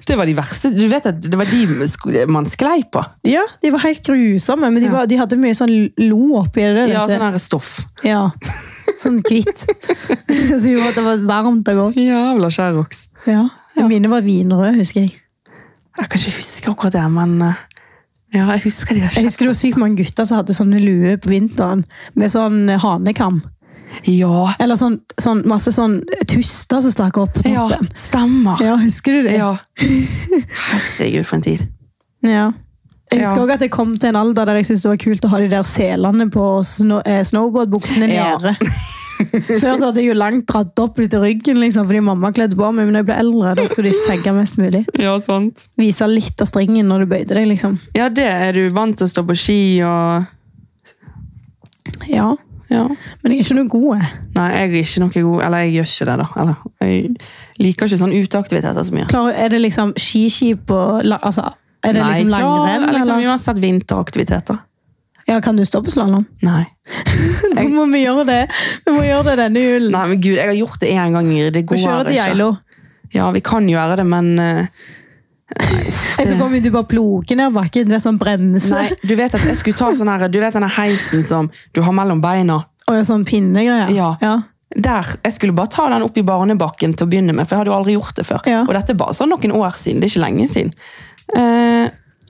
Speaker 1: Det var de verste. Du vet at det var de sk- man sklei på.
Speaker 2: Ja, de var helt grusomme, men de,
Speaker 1: Ja.
Speaker 2: var, de hadde mye sånn lo oppi det.
Speaker 1: Ja,
Speaker 2: vet du.
Speaker 1: sånn her stoff.
Speaker 2: ja. Sånn hvitt. så jo, det var varmt og godt.
Speaker 1: Jævla skjæroks.
Speaker 2: Ja.
Speaker 1: Ja.
Speaker 2: Mine var vinrøde, husker jeg.
Speaker 1: Jeg kan ikke huske akkurat det, men eh, ja, jeg husker de der
Speaker 2: Jeg husker det var sykt mange gutter som hadde sånne luer på vinteren med sånn eh, hanekam.
Speaker 1: skjæroks. Ja.
Speaker 2: Eller sånn, sånn masse sånn tuster som stakk opp på
Speaker 1: ja.
Speaker 2: toppen.
Speaker 1: Stemmer.
Speaker 2: Ja, husker du det?
Speaker 1: Ja. Herregud, for en tid.
Speaker 2: Ja. Jeg husker
Speaker 1: Ja.
Speaker 2: også at jeg kom til en alder der jeg syntes det var kult å ha de der selene på sno eh, snowboardbuksene
Speaker 1: Ja.
Speaker 2: nede. Før så hadde jeg jo langt dratt opp litt i ryggen liksom, fordi mamma kledde på meg, men når jeg ble eldre, da skulle de segge mest mulig.
Speaker 1: Ja, sant.
Speaker 2: Vise litt av strengen når du bøyde deg, liksom.
Speaker 1: Ja, det er du vant til å stå på ski og
Speaker 2: Ja.
Speaker 1: Ja.
Speaker 2: Men jeg er ikke noe god. jeg.
Speaker 1: Nei, jeg er ikke noe god Eller jeg gjør ikke det, da. Eller, jeg liker ikke sånn uteaktiviteter så mye.
Speaker 2: Klarer, er det liksom skiski på la- altså, Er det
Speaker 1: Nei,
Speaker 2: liksom
Speaker 1: slalom,
Speaker 2: langrenn?
Speaker 1: eller liksom
Speaker 2: eller?
Speaker 1: uansett vinteraktiviteter.
Speaker 2: Ja, kan du stå på slalåm?
Speaker 1: Nei.
Speaker 2: Da må vi gjøre det. Vi må gjøre det denne julen.
Speaker 1: Nei, men gud, jeg har gjort det én gang, Ingrid. Det
Speaker 2: Vi
Speaker 1: går
Speaker 2: kjører til
Speaker 1: ikke.
Speaker 2: Geilo.
Speaker 1: Ja, vi kan gjøre det, men eh,
Speaker 2: Jeg så for meg du bare ploker ned bakken ved sånn bremse
Speaker 1: Nei, du vet at jeg skulle ta sånn her Du vet denne heisen som du har mellom beina?
Speaker 2: og en sånn pinnegreier.
Speaker 1: Ja.
Speaker 2: Ja.
Speaker 1: Der, Jeg skulle bare ta den opp i barnebakken til å begynne med, for jeg hadde jo aldri gjort det før.
Speaker 2: Ja.
Speaker 1: Og dette er bare sånn noen år siden. Det er ikke lenge siden. Eh,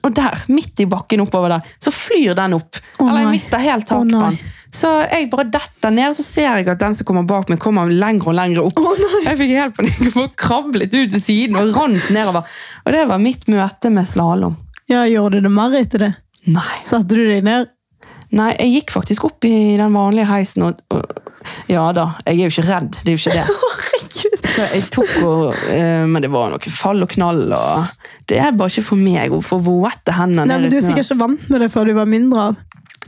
Speaker 1: og der, midt i bakken oppover der, så flyr den opp.
Speaker 2: Å,
Speaker 1: Eller jeg
Speaker 2: nei.
Speaker 1: mister helt tak
Speaker 2: Å,
Speaker 1: på
Speaker 2: nei.
Speaker 1: den. Så jeg bare detter ned, og så ser jeg at den som kommer bak meg, kommer lenger og lenger opp. jeg fikk helt panikk og bare krablet ut til siden og rant nedover. Og det var mitt møte med slalåm.
Speaker 2: ja, Gjorde du det mer etter det?
Speaker 1: Nei.
Speaker 2: Satte du deg ned?
Speaker 1: Nei, jeg gikk faktisk opp i den vanlige heisen og, og Ja da, jeg er jo ikke redd. Det er jo ikke det.
Speaker 2: Herregud!
Speaker 1: Så jeg tok og, eh, men det var noe fall og knall. Og det er bare ikke for meg å få våte hender
Speaker 2: Nei,
Speaker 1: ned i
Speaker 2: men Du er
Speaker 1: snøen.
Speaker 2: sikkert ikke vant med det før du var mindre. av.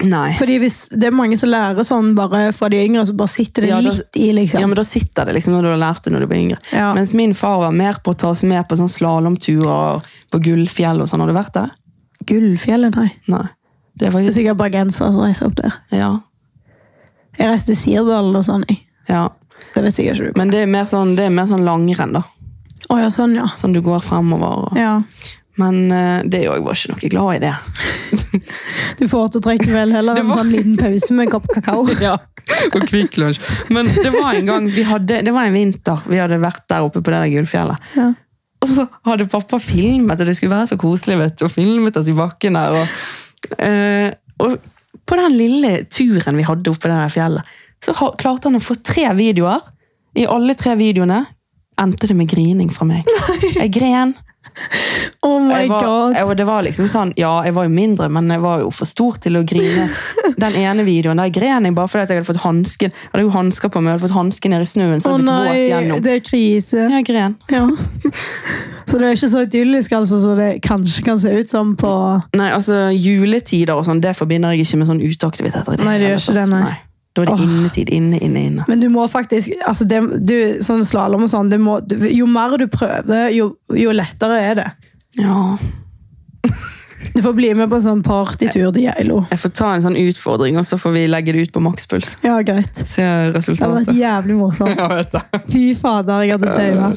Speaker 1: Nei.
Speaker 2: Fordi hvis, Det er mange som lærer sånn bare fra de er yngre, så bare sitter det
Speaker 1: Ja, da-
Speaker 2: litt i.
Speaker 1: Ja,
Speaker 2: liksom.
Speaker 1: men Da sitter det liksom når du har lært det når du blir yngre.
Speaker 2: Ja.
Speaker 1: Mens min far var mer på å ta oss med på sånn slalåmturer på Gullfjell. og sånn. Har du vært der?
Speaker 2: Gullfjellet, nei.
Speaker 1: Nei. Det var
Speaker 2: Det
Speaker 1: jo
Speaker 2: er sikkert bergensere som reiser opp der.
Speaker 1: ja,
Speaker 2: Jeg reiste til Sirdalen og sånn. jeg.
Speaker 1: ja.
Speaker 2: Det vet sikkert ikke du.
Speaker 1: Men det er mer sånn, det er mer sånn langrenn, da.
Speaker 2: Å ja, sånn, ja.
Speaker 1: Sånn du går fremover. Og.
Speaker 2: ja.
Speaker 1: Men eh, det er jo, jeg var ikke noe glad i det.
Speaker 2: Du foretrekker vel heller
Speaker 1: Det
Speaker 2: en
Speaker 1: var-
Speaker 2: sånn liten pause med en kopp kakao.
Speaker 1: Ja, og Kvikk Lunsj. Men det var en gang, vi hadde, det var en vinter, vi hadde vært der oppe på det der gullfjellet.
Speaker 2: Ja.
Speaker 1: Og så hadde pappa filmet, og det skulle være så koselig, vet du, og filmet oss i bakken der. Og, eh, og på den lille turen vi hadde oppe på det der fjellet, så ha, klarte han å få tre videoer. I alle tre videoene endte det med grining fra meg. Jeg gren.
Speaker 2: Oh my
Speaker 1: Jeg var,
Speaker 2: god.
Speaker 1: jeg, var- det var liksom sånn, ja, jeg var jo mindre, men jeg var jo for stor til å grine. Den ene videoen der gren jeg bare fordi at jeg hadde fått hansken. Jeg hadde jo hansker på meg, jeg hadde fått hansken ned i snøen, så jeg
Speaker 2: Å
Speaker 1: hadde blitt våt
Speaker 2: nei,
Speaker 1: gjennom.
Speaker 2: det er krise.
Speaker 1: Jeg gren.
Speaker 2: Ja. Så det er ikke så idyllisk altså, som det kanskje kan se ut som på
Speaker 1: Nei, altså juletider og sånn, det forbinder jeg ikke med sånn uteaktiviteter. i
Speaker 2: Nei,
Speaker 1: hele
Speaker 2: det gjør ikke
Speaker 1: tatt.
Speaker 2: det, nei.
Speaker 1: Da er det
Speaker 2: Åh.
Speaker 1: innetid, inne, inne, inne.
Speaker 2: Men du må faktisk altså det, du, Sånn slalåm og sånn det må, du, Jo mer du prøver, jo, jo lettere er det.
Speaker 1: Ja,
Speaker 2: Du får bli med på en sånn partytur til Geilo.
Speaker 1: jeg får ta en sånn utfordring, og så får vi legge det ut på makspuls.
Speaker 2: Ja, greit.
Speaker 1: Se
Speaker 2: Det hadde vært
Speaker 1: resultatet.
Speaker 2: jævlig morsomt.
Speaker 1: Ja, vet jeg.
Speaker 2: Fy fader, jeg hadde daua.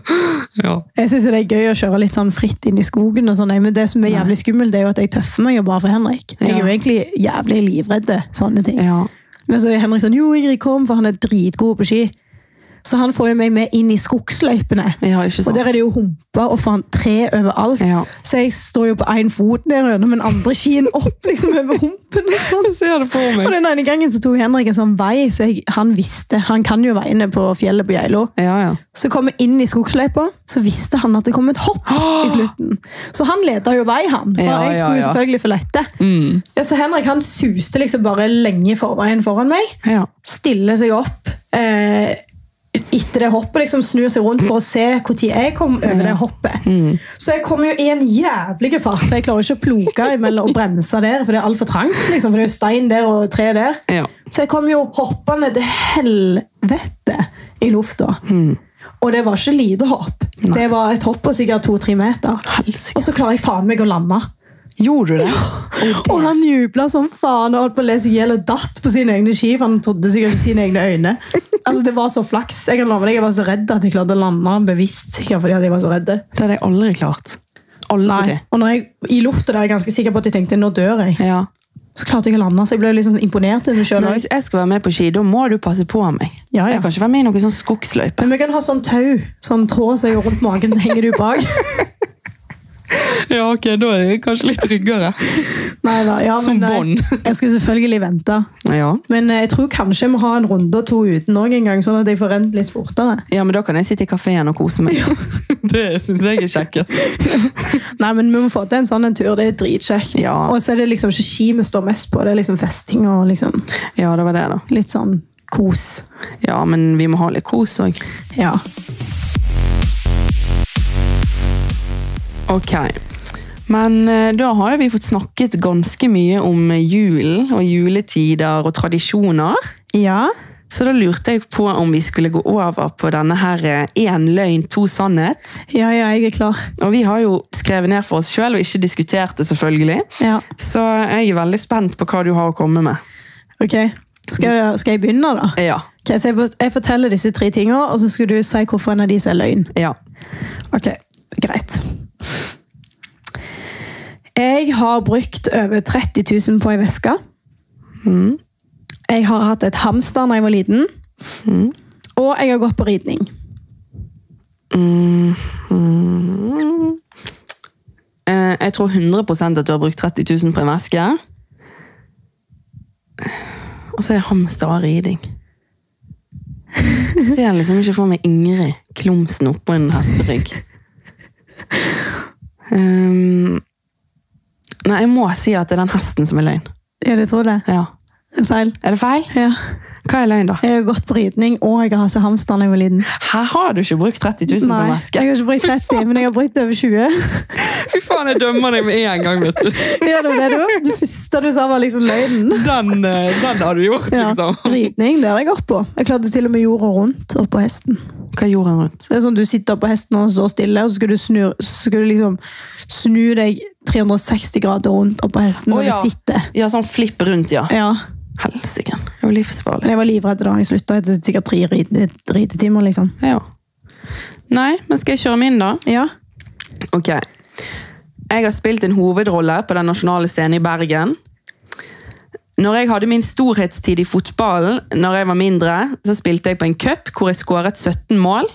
Speaker 1: Ja.
Speaker 2: Jeg syns det er gøy å kjøre litt sånn fritt inn i skogen, og sånn, men det som er jævlig skummelt, det er jo at jeg tøffer meg jo bare for Henrik. Jeg er jo
Speaker 1: Ja.
Speaker 2: egentlig jævlig livredd sånne ting.
Speaker 1: Ja.
Speaker 2: Men så er Henrik sånn Jo, Ingrid, kom, for han er dritgod på ski. Så han får jo meg med inn i skogsløypene.
Speaker 1: ja, ikke sant.
Speaker 2: Og der er det jo humper og faen tre overalt.
Speaker 1: Ja.
Speaker 2: Så jeg står jo på én fot nedover, men andre skien opp liksom over humpen. og sånn.
Speaker 1: Jeg ser det på
Speaker 2: Og den ene gangen så tok Henrik en sånn vei, så jeg, han visste, han kan jo veiene på fjellet på Geilo.
Speaker 1: Ja, ja.
Speaker 2: Så kom jeg inn i skogsløypa, så visste han at det kom et hopp i slutten. Så han leda jo vei, han. For
Speaker 1: Ja,
Speaker 2: jeg
Speaker 1: ja,
Speaker 2: skulle jo
Speaker 1: ja.
Speaker 2: selvfølgelig for lette.
Speaker 1: Mm.
Speaker 2: Ja, så Henrik han suste liksom bare lenge forveien foran meg.
Speaker 1: Ja.
Speaker 2: Stiller seg opp eh, etter det hoppet, liksom snur seg rundt for å se når jeg kom over det hoppet. Så jeg kom jo i en jævlig fart. for Jeg klarer ikke å ploke imellom og bremse der, for det er altfor trangt. liksom, for det er jo stein der og tre der.
Speaker 1: Ja.
Speaker 2: Så jeg kom jo hoppende til helvete i lufta. Og det var ikke lite hopp. Det var et hopp på sikkert to-tre meter.
Speaker 1: Helsike.
Speaker 2: Og så klarer jeg faen meg å lande.
Speaker 1: Gjorde du det?
Speaker 2: Og han jubla som faen og holdt på å lese ihjel og datt på sine egne ski. for han trodde sikkert ikke sine egne øyne. Altså, Det var så flaks. Jeg kan love deg, jeg var så redd at jeg klarte å lande han bevisst. sikkert fordi at jeg var så redd.
Speaker 1: Det hadde jeg aldri klart. Aldri.
Speaker 2: Nei. Og når jeg, i lufta der er jeg ganske sikker på at jeg tenkte nå dør jeg.
Speaker 1: Ja.
Speaker 2: Så klarte jeg å lande, så jeg ble litt sånn imponert over meg sjøl.
Speaker 1: Men hvis jeg skal være med på ski, da må du passe på meg.
Speaker 2: Ja, ja.
Speaker 1: Jeg kan ikke være med i noen sånn skogsløype.
Speaker 2: Men vi kan ha sånn tau, sånn tråd som er rundt magen, så henger du bak.
Speaker 1: Ja, ok, da er jeg kanskje litt tryggere.
Speaker 2: Nei, da, ja, men
Speaker 1: Som
Speaker 2: nei.
Speaker 1: bånd.
Speaker 2: Jeg skal selvfølgelig vente.
Speaker 1: Ja.
Speaker 2: Men eh, jeg tror kanskje jeg må ha en runde og to uten òg en gang, sånn at jeg får rent litt fortere.
Speaker 1: ja, men da kan jeg sitte i kafeen og kose meg. det syns jeg er kjekkest.
Speaker 2: Nei, men vi må få til en sånn en tur. Det er dritkjekt.
Speaker 1: Ja.
Speaker 2: Og så er det liksom ikke ski vi står mest på, det er liksom festing og liksom
Speaker 1: Ja, det var det, da.
Speaker 2: litt sånn kos.
Speaker 1: Ja, men vi må ha litt kos òg.
Speaker 2: Ja.
Speaker 1: Ok. Men eh, da har jo vi fått snakket ganske mye om julen og juletider og tradisjoner.
Speaker 2: Ja.
Speaker 1: Så da lurte jeg på om vi skulle gå over på denne her eh, én løgn, to sannhet.
Speaker 2: ja, ja, jeg er klar.
Speaker 1: Og vi har jo skrevet ned for oss sjøl og ikke diskutert det, selvfølgelig.
Speaker 2: Ja,
Speaker 1: Så jeg er veldig spent på hva du har å komme med.
Speaker 2: ok. Skal jeg, skal jeg begynne, da?
Speaker 1: Ja.
Speaker 2: Ok, så jeg, fort- jeg forteller disse tre tingene, og så skal du si hvorfor en av disse er løgn.
Speaker 1: Ja.
Speaker 2: Ok, greit. Jeg har brukt over 30 000 på ei veske. Mm.
Speaker 1: Mhm.
Speaker 2: Jeg har hatt et hamster da jeg var liten. Mm.
Speaker 1: Mhm.
Speaker 2: Og jeg har gått på ridning.
Speaker 1: Mm. Eh, Jeg tror 100 at du har brukt 30 000 på en veske. Og så er det hamster og riding. Jeg ser liksom ikke for meg Ingrid Klumsen oppå en hesterygg. Um, nei, jeg må si at det er den hesten som er løgn.
Speaker 2: Ja, du tror det?
Speaker 1: Ja.
Speaker 2: Det er feil.
Speaker 1: Er det feil?
Speaker 2: Ja.
Speaker 1: Hva er løgn, da?
Speaker 2: Jeg har gått på ridning, og jeg har hatt et hamster da jeg var liten.
Speaker 1: Her har du ikke brukt 30 000 på en
Speaker 2: Nei,
Speaker 1: veske.
Speaker 2: jeg har ikke brukt 30, men jeg har brukt over 20.
Speaker 1: Fy faen, jeg dømmer deg med en gang, vet du.
Speaker 2: Ja, det var det du. Det første du sa, var liksom løgnen.
Speaker 1: Den, eh, den har du gjort,
Speaker 2: Ja,
Speaker 1: liksom.
Speaker 2: ridning, det har jeg gått på. Jeg klarte til og med jorda rundt oppå hesten.
Speaker 1: Hva gjorde han rundt?
Speaker 2: Det er sånn Du sitter oppå hesten og står stille, og så skal du snu, så skal du liksom snu deg 360 grader rundt oppå hesten
Speaker 1: Å,
Speaker 2: når
Speaker 1: ja.
Speaker 2: du sitter.
Speaker 1: Ja, sånn flipp rundt, ja.
Speaker 2: Ja.
Speaker 1: Helsike. Det er jo livsfarlig.
Speaker 2: Men jeg var livredd da jeg slutta etter sikkert tre ride, ridetimer. liksom.
Speaker 1: Ja. Nei, men skal jeg kjøre min, da?
Speaker 2: Ja.
Speaker 1: Ok. Jeg har spilt en hovedrolle på den nasjonale scenen i Bergen. Når jeg hadde min storhetstid i fotballen, når jeg var mindre, så spilte jeg på en cup hvor jeg skåret 17 mål.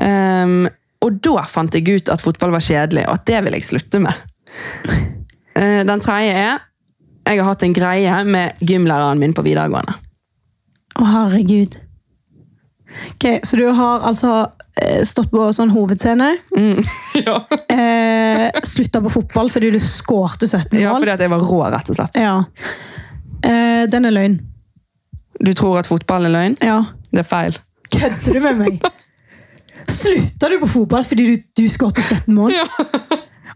Speaker 1: Ehm, og da fant jeg ut at fotball var kjedelig, og at det ville jeg slutte med. Eh, den tredje er jeg har hatt en greie med gymlæreren min på videregående.
Speaker 2: Å, herregud. Ok, Så du har altså eh, stått på sånn hovedscene,
Speaker 1: ja.
Speaker 2: eh, slutta på fotball fordi du skårte 17 mål.
Speaker 1: ja, fordi at jeg var rå, rett og slett.
Speaker 2: Ja. Eh, den er løgn.
Speaker 1: Du tror at fotball er løgn?
Speaker 2: Ja.
Speaker 1: Det er feil.
Speaker 2: Kødder du med meg? Slutta du på fotball fordi du, du skåret 17 mål?
Speaker 1: Ja.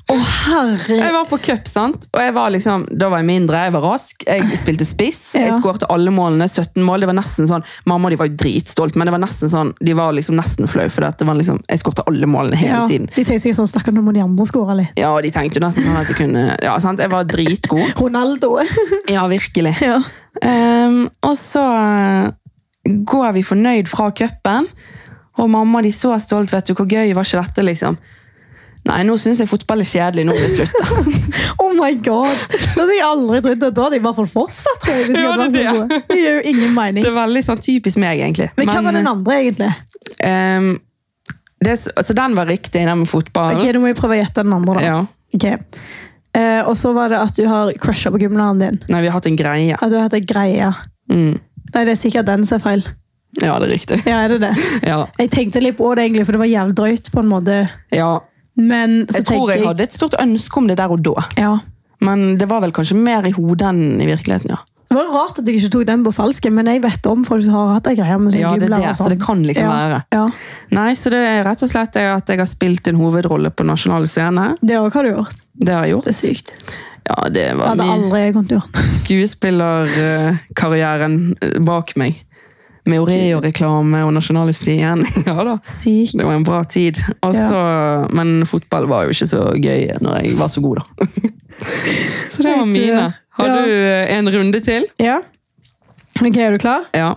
Speaker 2: Å, herre...
Speaker 1: Jeg var på cup, sant? og jeg var liksom, da var jeg mindre. Jeg var rask. Jeg spilte spiss.
Speaker 2: Ja.
Speaker 1: Jeg skårte alle målene. 17 mål. Det var nesten sånn, Mamma og de var jo dritstolt, men det var nesten sånn, de var liksom nesten flau. For det var liksom, jeg skårte alle målene hele
Speaker 2: Ja,
Speaker 1: tiden.
Speaker 2: de tenkte sikkert sånn, stakkar, nå må de andre skåre litt.
Speaker 1: Ja, og de tenkte jo nesten sånn at jeg kunne Ja, sant? Jeg var dritgod.
Speaker 2: Ronaldo.
Speaker 1: Ja, virkelig.
Speaker 2: ja.
Speaker 1: Ehm, og så eh, går vi fornøyd fra cupen. Og mamma de så stolt. Vet du hvor gøy var ikke dette, liksom? Nei, nå syns jeg fotball er kjedelig. Nå vil jeg slutte.
Speaker 2: Oh my god. Det hadde jeg aldri trodd. Da hadde de i hvert fall fortsatt, tror jeg. hvis de
Speaker 1: Ja,
Speaker 2: hadde
Speaker 1: det
Speaker 2: vært
Speaker 1: er
Speaker 2: så
Speaker 1: det.
Speaker 2: gode. Det gir jo ingen mening.
Speaker 1: Det er veldig sånn typisk meg, egentlig.
Speaker 2: Men hva var
Speaker 1: eh,
Speaker 2: den andre, egentlig?
Speaker 1: Ehm, det, er s- altså den var riktig, den med fotballen.
Speaker 2: Ok, Nå må jeg prøve å gjette den andre, da.
Speaker 1: Ja.
Speaker 2: Ok. Eh, og så var det at du har crusha på gymlæreren din.
Speaker 1: Nei, vi har hatt en greie.
Speaker 2: At du har hatt ei greie.
Speaker 1: Mm.
Speaker 2: Nei, det er sikkert den som er feil.
Speaker 1: Ja, det er riktig.
Speaker 2: Ja, er det det?
Speaker 1: Ja.
Speaker 2: Jeg tenkte litt på det, egentlig, for det var jævlig drøyt, på en måte.
Speaker 1: ja.
Speaker 2: Men så
Speaker 1: Jeg tror
Speaker 2: tenker
Speaker 1: jeg
Speaker 2: jeg
Speaker 1: hadde et stort ønske om det der og da,
Speaker 2: Ja.
Speaker 1: men det var vel kanskje mer i hodet enn i virkeligheten, ja.
Speaker 2: Det var rart at jeg ikke tok den på falsken, men jeg vet om folk som har hatt ei greie med sånn
Speaker 1: Ja, det er
Speaker 2: gymlærer
Speaker 1: det,
Speaker 2: og
Speaker 1: så det
Speaker 2: sånn.
Speaker 1: kan liksom
Speaker 2: Ja.
Speaker 1: være.
Speaker 2: Ja,
Speaker 1: Nei, så det er rett og slett det at jeg har spilt en hovedrolle på nasjonal scene.
Speaker 2: det òg har du gjort.
Speaker 1: Det har jeg gjort.
Speaker 2: Det er sykt.
Speaker 1: Ja, det
Speaker 2: Det
Speaker 1: var
Speaker 2: hadde
Speaker 1: min
Speaker 2: aldri jeg kommet til å gjøre.
Speaker 1: skuespillerkarrieren eh, bak meg. Med Oreo-reklame og Nasjonalistien. Ja da.
Speaker 2: Sykt.
Speaker 1: Det var en bra tid. Og
Speaker 2: Ja.
Speaker 1: så- Men fotball var jo ikke så gøy når jeg var så god, da. så det var
Speaker 2: Helt, ja.
Speaker 1: mine. Har
Speaker 2: Ja.
Speaker 1: du eh, en runde til?
Speaker 2: Ja. Ok, er du klar?
Speaker 1: Ja.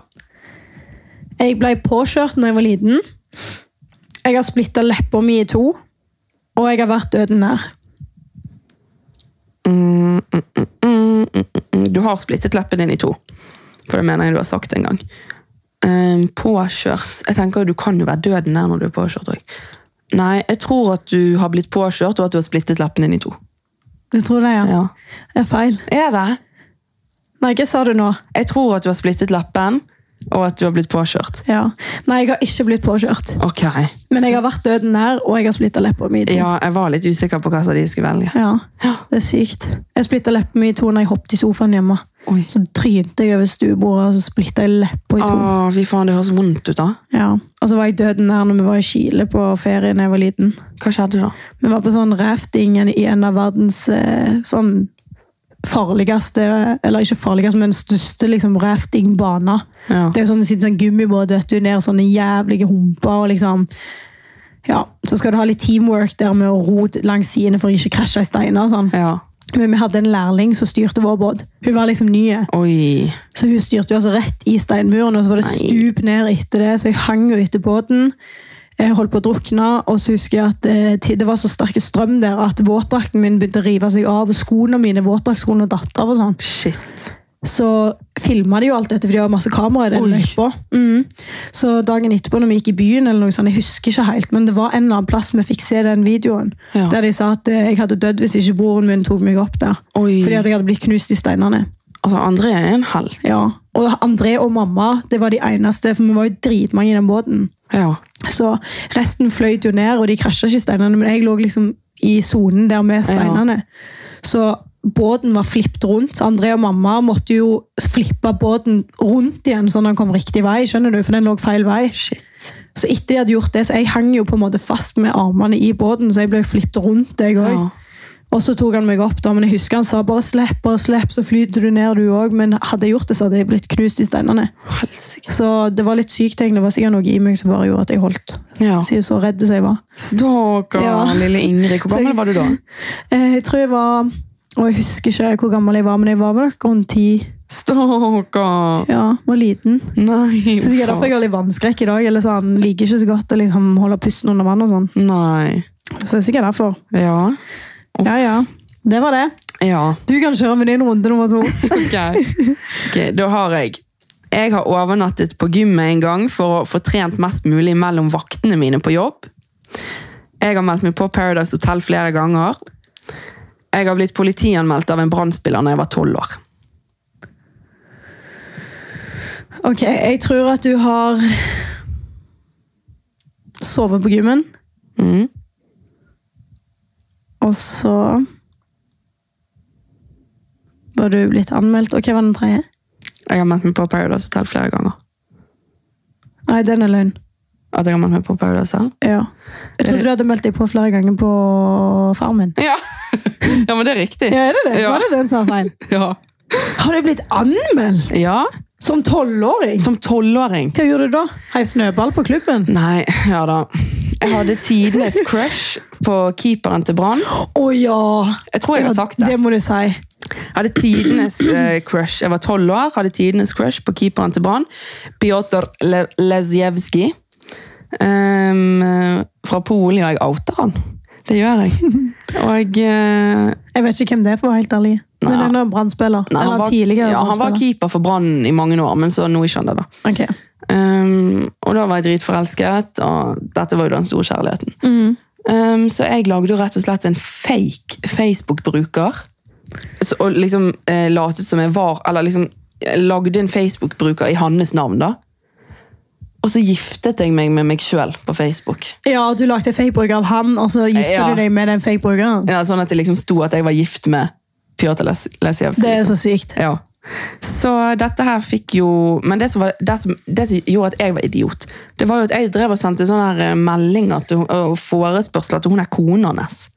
Speaker 2: Jeg ble påkjørt da jeg var liten. Jeg har splitta leppa mi i to. Og jeg har vært døden nær.
Speaker 1: Mm, mm, mm, mm, mm, mm. Du har splittet leppen din i to. For det mener jeg du har sagt en gang. Um, påkjørt Jeg tenker jo Du kan jo være døden nær når du er påkjørt òg. Nei, jeg tror at du har blitt påkjørt, og at du har splittet leppen din i to.
Speaker 2: Du tror det, ja?
Speaker 1: Ja.
Speaker 2: Det er feil.
Speaker 1: Er det?
Speaker 2: Nei, hva sa du nå?
Speaker 1: Jeg tror at du har splittet leppen, og at du har blitt påkjørt.
Speaker 2: Ja. Nei, jeg har ikke blitt påkjørt.
Speaker 1: Ok.
Speaker 2: Men jeg har vært døden nær, og jeg har splitta leppa mi i to.
Speaker 1: Ja, jeg var litt usikker på hva som de skulle velge.
Speaker 2: Ja.
Speaker 1: Ja.
Speaker 2: Det er sykt. Jeg splitta leppa mi i to når jeg hoppet i sofaen hjemme.
Speaker 1: Oi.
Speaker 2: Så trynte jeg over stuebordet, og så splitta jeg leppa i to.
Speaker 1: Å, fy faen, det høres vondt ut da.
Speaker 2: Ja. Og så var jeg døden nær når vi var i Chile på ferie da jeg var liten.
Speaker 1: Hva skjedde da?
Speaker 2: Vi var på sånn rafting i en av verdens eh, sånn farligste, eller ikke farligste, men største liksom, raftingbana.
Speaker 1: Ja.
Speaker 2: Det er jo sånn du sitter i sånn gummibåt, vet du, ned sånne jævlige humper og liksom Ja, så skal du ha litt teamwork der med å ro langs sidene for å ikke krasje i steiner og sånn.
Speaker 1: ja.
Speaker 2: Men vi hadde en lærling som styrte vår båt. Hun var liksom nye.
Speaker 1: Oi.
Speaker 2: Så hun styrte jo altså rett i steinmuren, og så var det
Speaker 1: Nei.
Speaker 2: stup ned etter det, så jeg hang jo etter båten. Jeg holdt på å drukne, og så husker jeg at eh, ti- det var så sterk strøm der at våtdrakten min begynte å rive seg av, og skoene mine, våtdraktskoene datt av og sånn.
Speaker 1: Shit.
Speaker 2: Så filma de jo alt dette, for de har masse kamera i den
Speaker 1: Oi.
Speaker 2: løypa. Mm. Så dagen etterpå når vi gikk i byen, eller noe sånt, jeg husker ikke helt, men det var en eller annen plass vi fikk se den videoen,
Speaker 1: Ja.
Speaker 2: der de sa at eh, jeg hadde dødd hvis ikke broren min tok meg opp der.
Speaker 1: Oi.
Speaker 2: Fordi at jeg hadde blitt knust i steinene.
Speaker 1: Altså, André er en helt.
Speaker 2: Ja, og André og mamma, det var de eneste, for vi var jo dritmange i den båten.
Speaker 1: Ja.
Speaker 2: Så resten fløyt jo ned, og de krasja ikke i steinene, men jeg lå liksom i sonen der med steinene. Så båten var flippet rundt. så André og mamma måtte jo flippe båten rundt igjen, sånn at den kom riktig vei, skjønner du, for den lå feil vei.
Speaker 1: Shit.
Speaker 2: Så etter de hadde gjort det, så jeg hang jo på en måte fast med armene i båten, så jeg ble flippet rundt, jeg òg.
Speaker 1: Ja.
Speaker 2: Og så tok han meg opp, da, men jeg husker han sa bare slipp, bare slipp, så flyter du ned du òg. Men hadde jeg gjort det, så hadde jeg blitt knust i steinene.
Speaker 1: Helsike.
Speaker 2: Så det var litt sykt, egentlig. Det var sikkert noe i meg som bare gjorde at jeg holdt.
Speaker 1: Ja.
Speaker 2: Så, så redd som jeg var.
Speaker 1: Stakkar,
Speaker 2: Ja.
Speaker 1: lille Ingrid. Hvor
Speaker 2: Så-
Speaker 1: gammel var du da?
Speaker 2: Eh, Jeg tror jeg var Og jeg husker ikke hvor gammel jeg var, men jeg var vel rundt ti.
Speaker 1: Stakkar.
Speaker 2: Ja, var liten.
Speaker 1: Nei.
Speaker 2: Så sikkert
Speaker 1: faen.
Speaker 2: derfor jeg har litt vannskrekk i dag. eller sånn, Liker ikke så godt å liksom holde pusten under vann og sånn.
Speaker 1: Nei.
Speaker 2: Så det er sikkert derfor.
Speaker 1: Ja.
Speaker 2: Ja, ja. Det var det.
Speaker 1: Ja.
Speaker 2: Du kan kjøre med din runde nummer to.
Speaker 1: Ok. ok, da har jeg. Jeg har overnattet på gymmet en gang for å få trent mest mulig mellom vaktene mine på jobb. Jeg har meldt meg på Paradise Hotel flere ganger. Jeg har blitt politianmeldt av en brannspiller når jeg var tolv år.
Speaker 2: Ok, jeg tror at du har sovet på gymmen,
Speaker 1: Mhm.
Speaker 2: og så var du blitt anmeldt. Ok, hva er den tredje?
Speaker 1: Jeg har meldt meg på Paradise Hotel flere ganger.
Speaker 2: Nei, den er løgn.
Speaker 1: At jeg har meldt meg på Paradise Hotel?
Speaker 2: Ja. Jeg trodde du hadde meldt deg på flere ganger på farmen.
Speaker 1: Ja. ja, men det er riktig.
Speaker 2: Ja, er det det?
Speaker 1: Ja.
Speaker 2: Var det den som var feil?
Speaker 1: Ja.
Speaker 2: Har du blitt anmeldt?
Speaker 1: ja.
Speaker 2: Som tolvåring?
Speaker 1: Som tolvåring.
Speaker 2: Hva gjorde du da? Heiv snøball på klubben?
Speaker 1: Nei, ja da. Jeg hadde tidenes crush på keeperen til Brann.
Speaker 2: Å ja!
Speaker 1: Jeg tror jeg har sagt det.
Speaker 2: Det må du si.
Speaker 1: Jeg hadde tidenes eh, crush. Jeg var tolv år, hadde tidenes crush på keeperen til Brann. Pjotr Le Lesjevskij. Ehm, fra Polen. Ja, jeg outer han. Det gjør jeg. Og eh,
Speaker 2: Jeg vet ikke hvem det er, for å være helt ærlig. Men
Speaker 1: Nei.
Speaker 2: en brannspiller.
Speaker 1: nei,
Speaker 2: Eller
Speaker 1: han, var,
Speaker 2: tidligere
Speaker 1: ja, han var keeper for Brann i mange år, men så nå ikke han det, da.
Speaker 2: brannspiller. Ok.
Speaker 1: Ehm, og da var jeg dritforelsket, og dette var jo den store kjærligheten.
Speaker 2: Mm.
Speaker 1: Ehm, så jeg lagde jo rett og slett en fake Facebook-bruker. Så- Og liksom eh, latet som jeg var Eller liksom eh, lagde en Facebook-bruker i hans navn, da. Og så giftet jeg meg med meg sjøl på Facebook.
Speaker 2: Ja, du lagde fake-bruk av han, og så gifter
Speaker 1: Ja.
Speaker 2: du deg med den fake-brukeren.
Speaker 1: Ja, sånn at det liksom sto at jeg var gift med Pjotr Les- Lesjevskij.
Speaker 2: Det er
Speaker 1: liksom.
Speaker 2: så sykt.
Speaker 1: Ja. Så dette her fikk jo Men det som, var, det, som, det som gjorde at jeg var idiot, det var jo at jeg drev og sendte sånne her eh, meldinger til, hun- og forespørsler til hun er kona hans.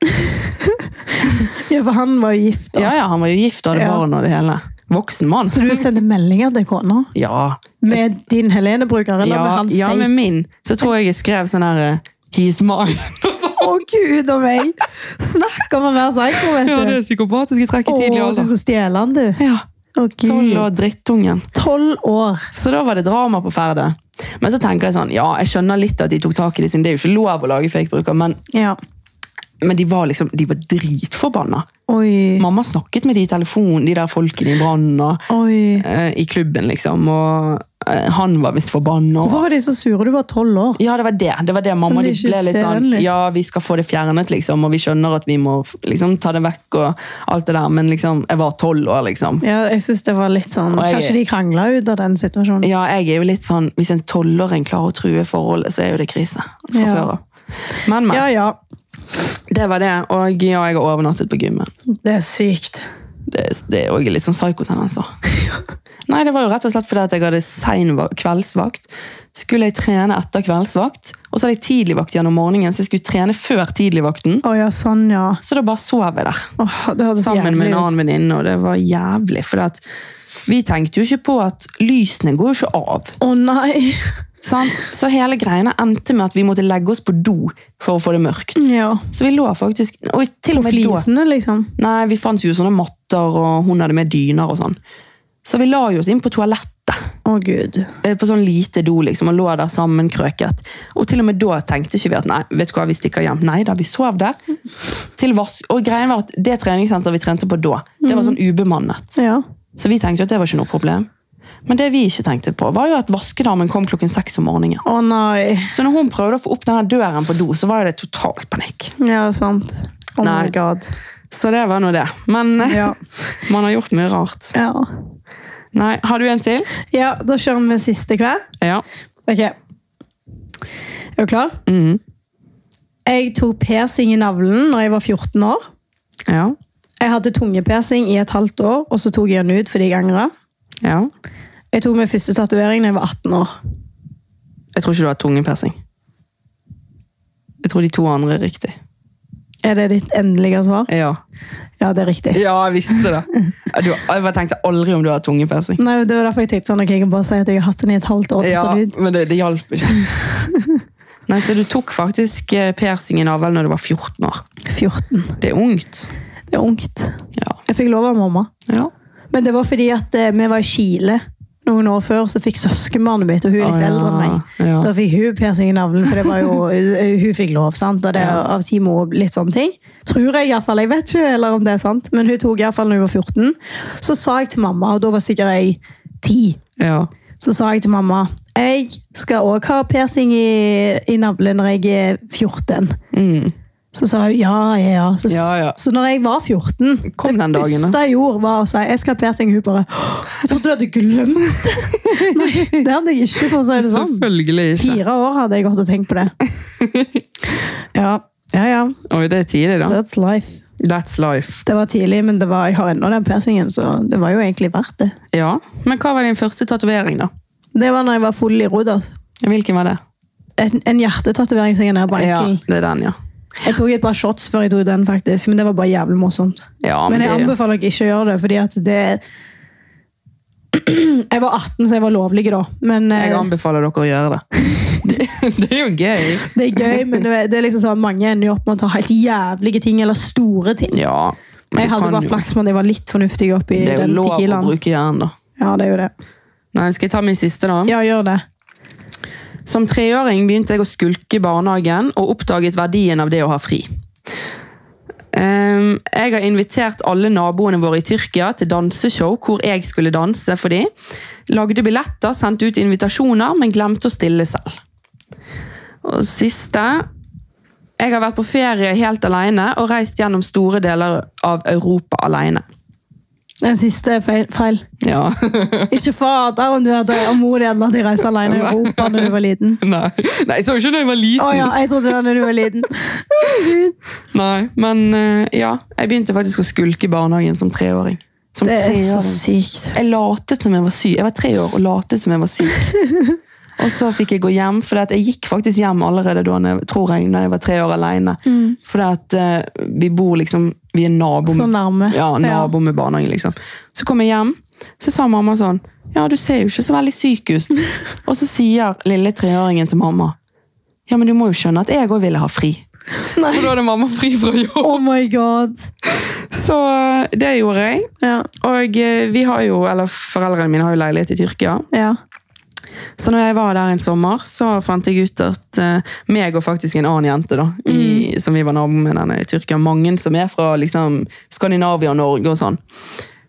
Speaker 2: Ja, for han var jo gift. Da.
Speaker 1: Ja, ja, han var jo gift og hadde
Speaker 2: Ja.
Speaker 1: barn og det hele. Voksen mann.
Speaker 2: Så du sendte meldinger til kona
Speaker 1: Ja.
Speaker 2: med din Helene-bruker, eller med
Speaker 1: Ja,
Speaker 2: hans
Speaker 1: ja, med
Speaker 2: fake?
Speaker 1: min. Så tror jeg jeg skrev sånn her eh, He's mine.
Speaker 2: Å, gud og meg! Snakk om å være psycho, vet du.
Speaker 1: ja, det er psykopatiske trekk i tidlig
Speaker 2: Å, du
Speaker 1: alder.
Speaker 2: skulle stjele han, du.
Speaker 1: Ja,
Speaker 2: Å,
Speaker 1: Tolv
Speaker 2: gud.
Speaker 1: og drittungen.
Speaker 2: Tolv år.
Speaker 1: Så da var det drama på ferde. Men så tenker jeg sånn, ja, jeg skjønner litt at de tok tak i det, siden det er jo ikke lov å lage fake-bruker, men,
Speaker 2: Ja.
Speaker 1: men de var liksom, de var dritforbanna.
Speaker 2: Oi.
Speaker 1: Mamma snakket med de i telefonen, de der folkene i brannen og
Speaker 2: Oi.
Speaker 1: eh, i klubben, liksom, og eh, han var visst forbanna. og-
Speaker 2: Hvorfor var de så sure? Du var tolv år.
Speaker 1: Ja, det var det. Det var det mamma
Speaker 2: Men
Speaker 1: de
Speaker 2: det er ikke
Speaker 1: ble litt sånn
Speaker 2: sedvanlig.
Speaker 1: Ja, vi skal få det fjernet, liksom, og vi skjønner at vi må liksom, ta det vekk og alt det der, men liksom, jeg var tolv år, liksom.
Speaker 2: Ja, jeg synes det var litt sånn...
Speaker 1: Og jeg-
Speaker 2: Kanskje de krangla ut av den situasjonen.
Speaker 1: Ja, jeg er jo litt sånn Hvis en tolvåring klarer å true forholdet, så er jo det krise fra
Speaker 2: Ja.
Speaker 1: før av. Men, men.
Speaker 2: Ja, ja.
Speaker 1: Det var det. Og ja, jeg har overnattet på gymmet.
Speaker 2: Det er sykt.
Speaker 1: Det, det er òg litt sånn psykotendenser. Nei, det var jo rett og slett fordi at jeg hadde sein va- kveldsvakt. Skulle jeg trene etter kveldsvakt, og så hadde jeg tidligvakt gjennom morgenen, så jeg skulle trene før tidligvakten.
Speaker 2: Å ja, sånn, ja.
Speaker 1: Så da bare sov jeg der.
Speaker 2: Åh, det hørtes
Speaker 1: sammen med en
Speaker 2: jævlig ut.
Speaker 1: annen venninne, og det var jævlig. For at vi tenkte jo ikke på at lysene går jo ikke av.
Speaker 2: Å nei!
Speaker 1: Sant? Så hele greiene endte med at vi måtte legge oss på do for å få det mørkt.
Speaker 2: Ja.
Speaker 1: Så vi lå faktisk Og til og
Speaker 2: Og
Speaker 1: med da
Speaker 2: flisene, liksom.
Speaker 1: Nei, vi fant jo sånne matter, og hun hadde med dyner og sånn. Så vi la jo oss inn på toalettet.
Speaker 2: Å gud.
Speaker 1: eh, På sånn lite do, liksom, og lå der sammenkrøket. Og til og med da tenkte ikke vi at nei, vet du hva, vi stikker hjem. Nei da, vi sov der. Til vask. Og greien var at det treningssenteret vi trente på da, det var sånn ubemannet.
Speaker 2: Ja.
Speaker 1: Så vi tenkte jo at det var ikke noe problem. Men det vi ikke tenkte på, var jo at vaskedamen kom klokken seks om morgenen.
Speaker 2: Å nei.
Speaker 1: Så når hun prøvde å få opp denne døren på do, så var det total panikk.
Speaker 2: Ja, sant. Oh
Speaker 1: Nei.
Speaker 2: my god.
Speaker 1: Så det var nå det. Men
Speaker 2: Ja.
Speaker 1: man har gjort mye rart.
Speaker 2: Ja.
Speaker 1: Nei, Har du en til?
Speaker 2: ja, da kjører vi siste hver.
Speaker 1: Ja.
Speaker 2: Ok. Er du klar? Jeg tok piercing i navlen når jeg var 14 år.
Speaker 1: Ja.
Speaker 2: Jeg hadde tungepiercing i et halvt år, og så tok jeg den ut fordi jeg angret.
Speaker 1: Ja.
Speaker 2: Jeg tok min første tatovering da jeg var 18 år.
Speaker 1: Jeg tror ikke du har tungepersing. Jeg tror de to andre er riktig.
Speaker 2: Er det ditt endelige svar?
Speaker 1: Ja,
Speaker 2: Ja, det er riktig.
Speaker 1: ja jeg visste det. Du, jeg bare tenkte aldri om du har tungepersing.
Speaker 2: Nei, Det var derfor jeg tenkte sånn, ok, jeg kan bare si at jeg har hatt den i et halvt år. og
Speaker 1: Ja,
Speaker 2: tatt den ut.
Speaker 1: men det, det hjalp ikke. Nei, så du tok faktisk eh, piercing i navlen når du var 14 år.
Speaker 2: 14.
Speaker 1: Det er ungt.
Speaker 2: Det er ungt.
Speaker 1: Ja.
Speaker 2: Jeg fikk lov av mamma.
Speaker 1: Ja.
Speaker 2: Men det var fordi at eh, vi var i Chile noen år før, så fikk søskenbarnet mitt, og hun er litt
Speaker 1: Å, ja,
Speaker 2: eldre enn meg,
Speaker 1: ja.
Speaker 2: da fikk hun piercing i navlen, for det var jo, eh, hun fikk lov, sant? Og det er
Speaker 1: Ja.
Speaker 2: av Simo og litt sånne ting. Tror jeg i hvert fall, jeg vet ikke heller om det er sant, men hun tok i hvert fall når hun var 14. Så sa jeg til mamma, og da var sikkert jeg 10,
Speaker 1: Ja.
Speaker 2: så sa jeg til mamma, jeg skal også ha piercing i, i navlen når jeg er 14.
Speaker 1: Mm.
Speaker 2: Så sa hun ja, ja, ja. Så,
Speaker 1: Ja, ja.
Speaker 2: så når jeg var 14
Speaker 1: Kom den
Speaker 2: Det
Speaker 1: dagen, da.
Speaker 2: første jeg gjorde, var å si jeg skal ha piercing. Hun bare «Åh, Jeg trodde du hadde glemt det! Nei, det hadde jeg ikke. for å si det sånn.
Speaker 1: Selvfølgelig ikke.
Speaker 2: Fire år hadde jeg gått og tenkt på det. Ja, ja. ja.
Speaker 1: Oi, det er tidlig, da.
Speaker 2: That's life.
Speaker 1: That's life.
Speaker 2: Det var tidlig, men det var, jeg har ennå den piercingen, så det var jo egentlig verdt det.
Speaker 1: Ja. Men hva var din første tatovering, da?
Speaker 2: Det var når jeg var full i Rodas.
Speaker 1: Hvilken var det?
Speaker 2: En, en hjertetatovering som jeg nede på
Speaker 1: Ja,
Speaker 2: ankelen.
Speaker 1: det er den, ja.
Speaker 2: Jeg tok et par shots før jeg tok den, faktisk, men det var bare jævlig morsomt.
Speaker 1: ja
Speaker 2: Men jeg
Speaker 1: det,
Speaker 2: anbefaler dere ikke å gjøre det, fordi at det Jeg var 18, så jeg var lovlig da. Men eh,
Speaker 1: jeg anbefaler dere å gjøre det. Det, det er jo gøy.
Speaker 2: det er gøy, men det er- det er liksom sånn, mange ender jo opp med å ta helt jævlige ting, eller store ting.
Speaker 1: Ja. men
Speaker 2: jeg
Speaker 1: du
Speaker 2: hadde
Speaker 1: kan
Speaker 2: bare
Speaker 1: jo-
Speaker 2: flaks med at jeg var litt fornuftig oppi
Speaker 1: Det er jo
Speaker 2: den
Speaker 1: lov å
Speaker 2: tequilaen.
Speaker 1: bruke hjernen, da.
Speaker 2: Ja, det er jo det.
Speaker 1: Nei, skal jeg ta min siste, da?
Speaker 2: Ja, gjør det.
Speaker 1: Som treåring begynte jeg å skulke i barnehagen og oppdaget verdien av det å ha fri. Ehm, jeg har invitert alle naboene våre i Tyrkia til danseshow hvor jeg skulle danse for dem. Lagde billetter, sendte ut invitasjoner, men glemte å stille selv. Og siste Jeg har vært på ferie helt alene og reist gjennom store deler av Europa alene.
Speaker 2: Den siste er feil. feil.
Speaker 1: Ja.
Speaker 2: Ikke fader om du hadde om mor di hadde latt deg reise alene i Europa da du var liten.
Speaker 1: Nei. Nei, jeg så ikke da jeg var
Speaker 2: Å
Speaker 1: liten.
Speaker 2: ja, jeg trodde det var da du var liten. Å, Gud.
Speaker 1: Nei, men eh, ja. Jeg begynte faktisk å skulke i barnehagen som treåring. Som
Speaker 2: Det er så
Speaker 1: treåring.
Speaker 2: sykt.
Speaker 1: Jeg latet som jeg var syk. Jeg var tre år og latet som jeg var syk. og så fikk jeg gå hjem, for jeg gikk faktisk hjem allerede da når jeg, tror jeg, når jeg var tre år alene. For at eh, vi bor liksom Vi er nabo,
Speaker 2: Så nærme.
Speaker 1: ja, nabo med barnehagen, liksom. Så kom jeg hjem, så sa mamma sånn Ja, du ser jo ikke så veldig syk ut. og så sier lille treåringen til mamma Ja, men du må jo skjønne at jeg òg ville ha fri.
Speaker 2: Nei.
Speaker 1: For da hadde mamma fri fra jobb.
Speaker 2: Oh my god.
Speaker 1: Så eh, det gjorde jeg.
Speaker 2: Ja.
Speaker 1: Og eh, vi har jo, eller foreldrene mine har jo leilighet i Tyrkia.
Speaker 2: Ja.
Speaker 1: Så når jeg var der en sommer, så fant jeg ut at eh, meg og faktisk en annen jente da, i, som vi var nabo med denne i Tyrkia, mange som er fra liksom, Skandinavia og Norge og sånn,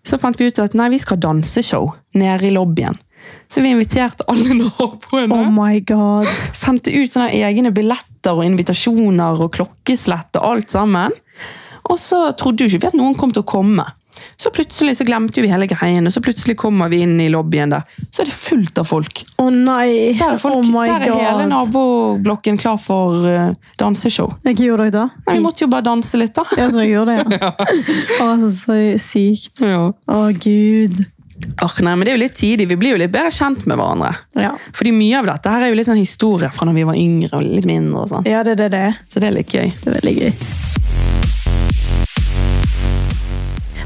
Speaker 1: så fant vi ut at nei, vi skal ha danseshow nede i lobbyen. Så vi inviterte alle naboene.
Speaker 2: Oh my god.
Speaker 1: Sendte ut sånne egne billetter og invitasjoner og klokkeslett og alt sammen. Og så trodde jo ikke vi at noen kom til å komme. Så plutselig så glemte vi hele greien, og så plutselig kommer vi inn i lobbyen der. Så er det fullt av folk.
Speaker 2: Å nei.
Speaker 1: Der er, folk,
Speaker 2: oh my
Speaker 1: der er hele
Speaker 2: god.
Speaker 1: naboblokken klar for eh, danseshow.
Speaker 2: Hva gjorde dere da?
Speaker 1: Nei, vi måtte jo bare danse litt, da.
Speaker 2: Ja, så jeg gjorde det, ja. Å, så, så sykt. Å, gud.
Speaker 1: Åh, nei, men Det er jo litt tidlig. Vi blir jo litt bedre kjent med hverandre.
Speaker 2: Ja.
Speaker 1: Fordi mye av dette her er jo litt sånn historie fra når vi var yngre og litt mindre. og sånn.
Speaker 2: ja, det er det det er.
Speaker 1: Så det er litt gøy.
Speaker 2: Det er veldig gøy.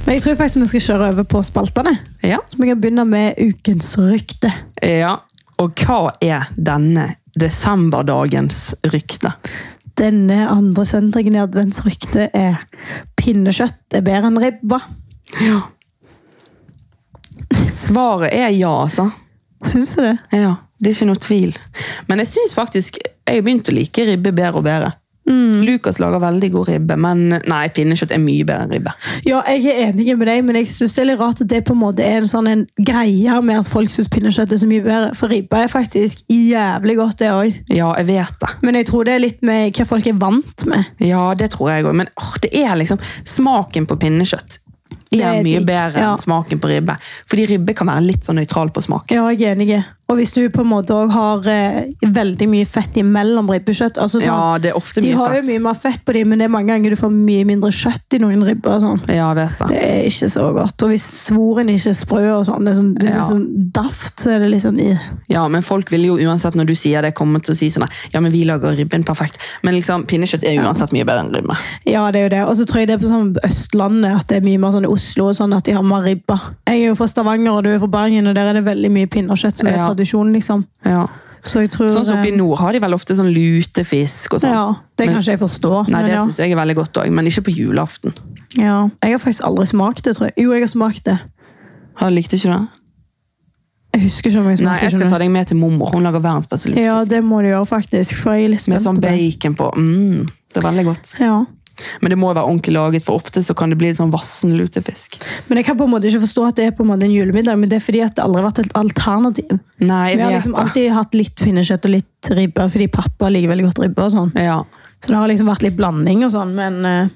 Speaker 2: Men jeg tror faktisk vi skal kjøre over på spaltene.
Speaker 1: Ja.
Speaker 2: Så vi kan begynne med ukens rykte.
Speaker 1: ja. Og hva er denne desemberdagens rykte?
Speaker 2: Denne andre søndagen i adventsryktet er pinnekjøtt er bedre enn ribba.
Speaker 1: Ja. Svaret er ja, altså.
Speaker 2: Syns du det?
Speaker 1: Ja, Det er ikke noe tvil. Men jeg syns faktisk jeg har begynt å like ribbe bedre og bedre. Lukas lager veldig god ribbe, men nei, pinnekjøtt er mye bedre enn ribbe.
Speaker 2: Ja, jeg er enig med deg, men jeg synes det er litt rart at det på en måte er en sånn en greie med at folk syns pinnekjøtt er så mye bedre. For ribba er faktisk jævlig godt, det òg.
Speaker 1: Ja, jeg vet det.
Speaker 2: Men jeg tror det er litt med hva folk er vant med.
Speaker 1: Ja, det tror jeg òg. Men åh, det er liksom smaken på pinnekjøtt er,
Speaker 2: er
Speaker 1: mye
Speaker 2: digg,
Speaker 1: bedre
Speaker 2: ja.
Speaker 1: enn smaken på ribbe. Fordi ribbe kan være litt sånn nøytral på smak.
Speaker 2: Ja, jeg er enig. Og hvis du på en måte òg har eh, veldig mye fett imellom ribbekjøtt altså sånn,
Speaker 1: Ja, det er ofte
Speaker 2: De
Speaker 1: mye
Speaker 2: har
Speaker 1: fett.
Speaker 2: jo mye mer fett på dem, men det er mange ganger du får mye mindre kjøtt i noen ribber. og sånn.
Speaker 1: Ja, jeg vet det.
Speaker 2: Det er ikke så godt. Og hvis svoren ikke er sprø, og sånn, det er sånn, det er
Speaker 1: Ja.
Speaker 2: sånn daft, så er det litt sånn i.
Speaker 1: Ja, men folk vil jo uansett når du sier det, komme til å si sånn nei, Ja, men vi lager ribben perfekt. Men liksom, pinnekjøtt er uansett mye bedre enn ribbe.
Speaker 2: Ja, det er jo det. Og så tror jeg det er på sånn Østlandet at det er mye mer sånn i Oslo og sånn at de har mer ribber. Jeg er jo fra Stavanger, og du er fra Bergen, og der er det veldig mye pinnekjøtt som er
Speaker 1: Ja.
Speaker 2: tradisjon. liksom.
Speaker 1: Ja.
Speaker 2: Så jeg tror...
Speaker 1: Sånn som oppe i
Speaker 2: eh,
Speaker 1: nord har de vel ofte sånn lutefisk og sånn.
Speaker 2: Ja, Det
Speaker 1: Men-
Speaker 2: kan ikke jeg forstå.
Speaker 1: Nei,
Speaker 2: men
Speaker 1: det
Speaker 2: ja.
Speaker 1: syns jeg er veldig godt òg, men ikke på julaften.
Speaker 2: Ja. Jeg har faktisk aldri smakt det, tror jeg. Jo, jeg har smakt det.
Speaker 1: Har du likt ikke det?
Speaker 2: Jeg husker ikke om jeg
Speaker 1: Nei,
Speaker 2: smakte
Speaker 1: jeg skal ta deg med til mormor. Hun lager verdens beste lutefisk.
Speaker 2: Ja, det må du gjøre, faktisk. For jeg er litt spent
Speaker 1: Med sånn
Speaker 2: på det.
Speaker 1: bacon på. Mm, det er veldig godt.
Speaker 2: Ja.
Speaker 1: Men det må jo være ordentlig laget, for ofte så kan det bli litt sånn vassen lutefisk.
Speaker 2: Men jeg kan på en måte ikke forstå at det er på en måte en julemiddag, men det er fordi at det aldri har vært et alternativ.
Speaker 1: Nei, jeg
Speaker 2: Vi har
Speaker 1: vet
Speaker 2: liksom
Speaker 1: det.
Speaker 2: alltid hatt litt pinnekjøtt og litt ribbe, fordi pappa liker veldig godt ribbe og sånn.
Speaker 1: Ja.
Speaker 2: Så det har liksom vært litt blanding og sånn, men, eh,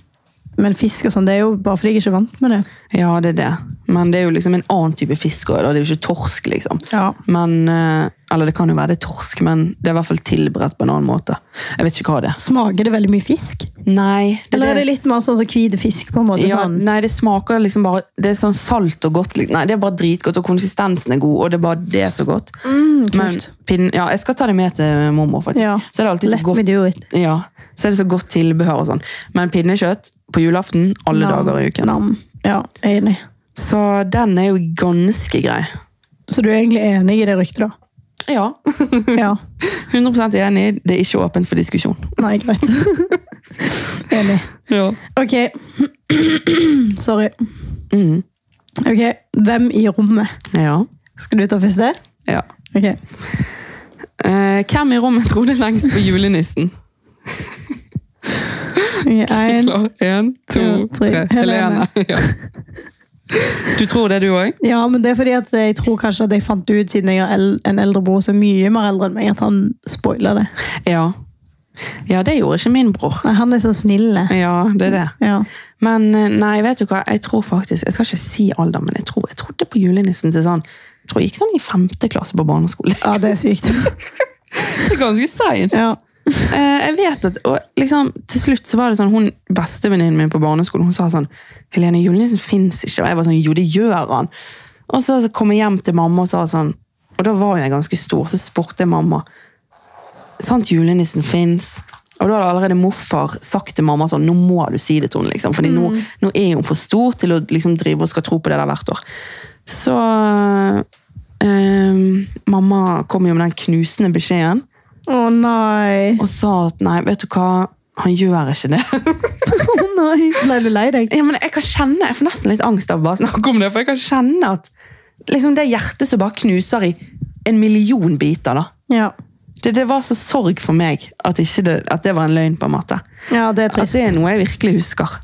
Speaker 2: men fisk og sånn, det er jo bare fordi jeg ikke er vant med det.
Speaker 1: ja, det er det. Men det er jo liksom en annen type fisk også, da. Det er jo ikke torsk, liksom.
Speaker 2: Ja.
Speaker 1: Men, eh, eller det kan jo være det er torsk, men det er i hvert fall tilberedt på en annen måte. Jeg vet ikke hva det er.
Speaker 2: Smaker det veldig mye fisk?
Speaker 1: Nei, det,
Speaker 2: Eller er det litt mer sånn som hvit fisk, på en måte?
Speaker 1: ja,
Speaker 2: sånn?
Speaker 1: nei, det smaker liksom bare Det er sånn salt og godt. liksom. Nei, det er bare dritgodt, og konsistensen er god, og det er bare det er så godt. Men
Speaker 2: kult.
Speaker 1: pinn- ja, jeg skal ta det med til mormor, faktisk.
Speaker 2: Ja.
Speaker 1: Så er det alltid så
Speaker 2: Let
Speaker 1: godt
Speaker 2: me do it.
Speaker 1: Ja, så er det så godt tilbehør og sånn. Men pinnekjøtt på julaften alle
Speaker 2: Nam,
Speaker 1: dager i uken.
Speaker 2: nam. Ja, jeg er enig.
Speaker 1: Så den er jo ganske grei.
Speaker 2: Så du er egentlig enig i det ryktet, da?
Speaker 1: Ja.
Speaker 2: Ja.
Speaker 1: 100 enig. Det er ikke åpent for diskusjon.
Speaker 2: Nei, greit. enig.
Speaker 1: Ja.
Speaker 2: Ok. Sorry.
Speaker 1: Mm.
Speaker 2: Ok, Hvem i rommet?
Speaker 1: ja.
Speaker 2: Skal du ta først det?
Speaker 1: ja.
Speaker 2: Ok.
Speaker 1: Eh, hvem i rommet trodde lengst på julenissen?
Speaker 2: Ok, En.
Speaker 1: Klar. Én, to,
Speaker 2: to, tre.
Speaker 1: tre. Helene.
Speaker 2: Helene.
Speaker 1: Ja. Du tror det, du òg?
Speaker 2: Ja, men det er fordi at jeg tror kanskje at jeg fant ut, siden jeg har el- en eldre bror som er mye mer eldre enn meg, at han spoiler det.
Speaker 1: Ja. Ja, det gjorde ikke min bror.
Speaker 2: Nei, han er så snill. det.
Speaker 1: Ja, det er det.
Speaker 2: Ja.
Speaker 1: Men eh, nei, vet du hva? Jeg tror faktisk, jeg skal ikke si alder, men jeg tror jeg trodde på julenissen til sånn jeg tror jeg gikk sånn i femte klasse på barneskolen.
Speaker 2: ja, det er sykt.
Speaker 1: Det er ganske seint.
Speaker 2: Ja.
Speaker 1: Eh, Jeg vet at, og liksom, Til slutt så var det sånn, hun bestevenninnen min på barneskolen hun sa sånn 'Helene, julenissen fins ikke.' Og jeg var sånn 'Jo, det gjør han.' Og så så kom jeg hjem til mamma og sa sånn Og da var jeg ganske stor, så spurte jeg mamma Sant, julenissen fins. Og da hadde allerede morfar sagt til mamma sånn, nå må du si det til henne. Liksom, fordi nå, nå er hun for stor til å liksom, drive og skal tro på det der hvert år. Så eh, mamma kom jo med den knusende beskjeden
Speaker 2: Å nei.
Speaker 1: og sa at nei, vet du hva, han gjør ikke det.
Speaker 2: Å nei. Ble du lei deg?
Speaker 1: ja, men jeg kan kjenne, jeg får nesten litt angst av å bare snakke om det, for jeg kan kjenne at liksom det hjertet som bare knuser i en million biter, da.
Speaker 2: Ja.
Speaker 1: Det, det var så sorg for meg at, ikke det, at det var en løgn, på en måte.
Speaker 2: ja, det
Speaker 1: At
Speaker 2: er trist.
Speaker 1: det er noe jeg virkelig husker.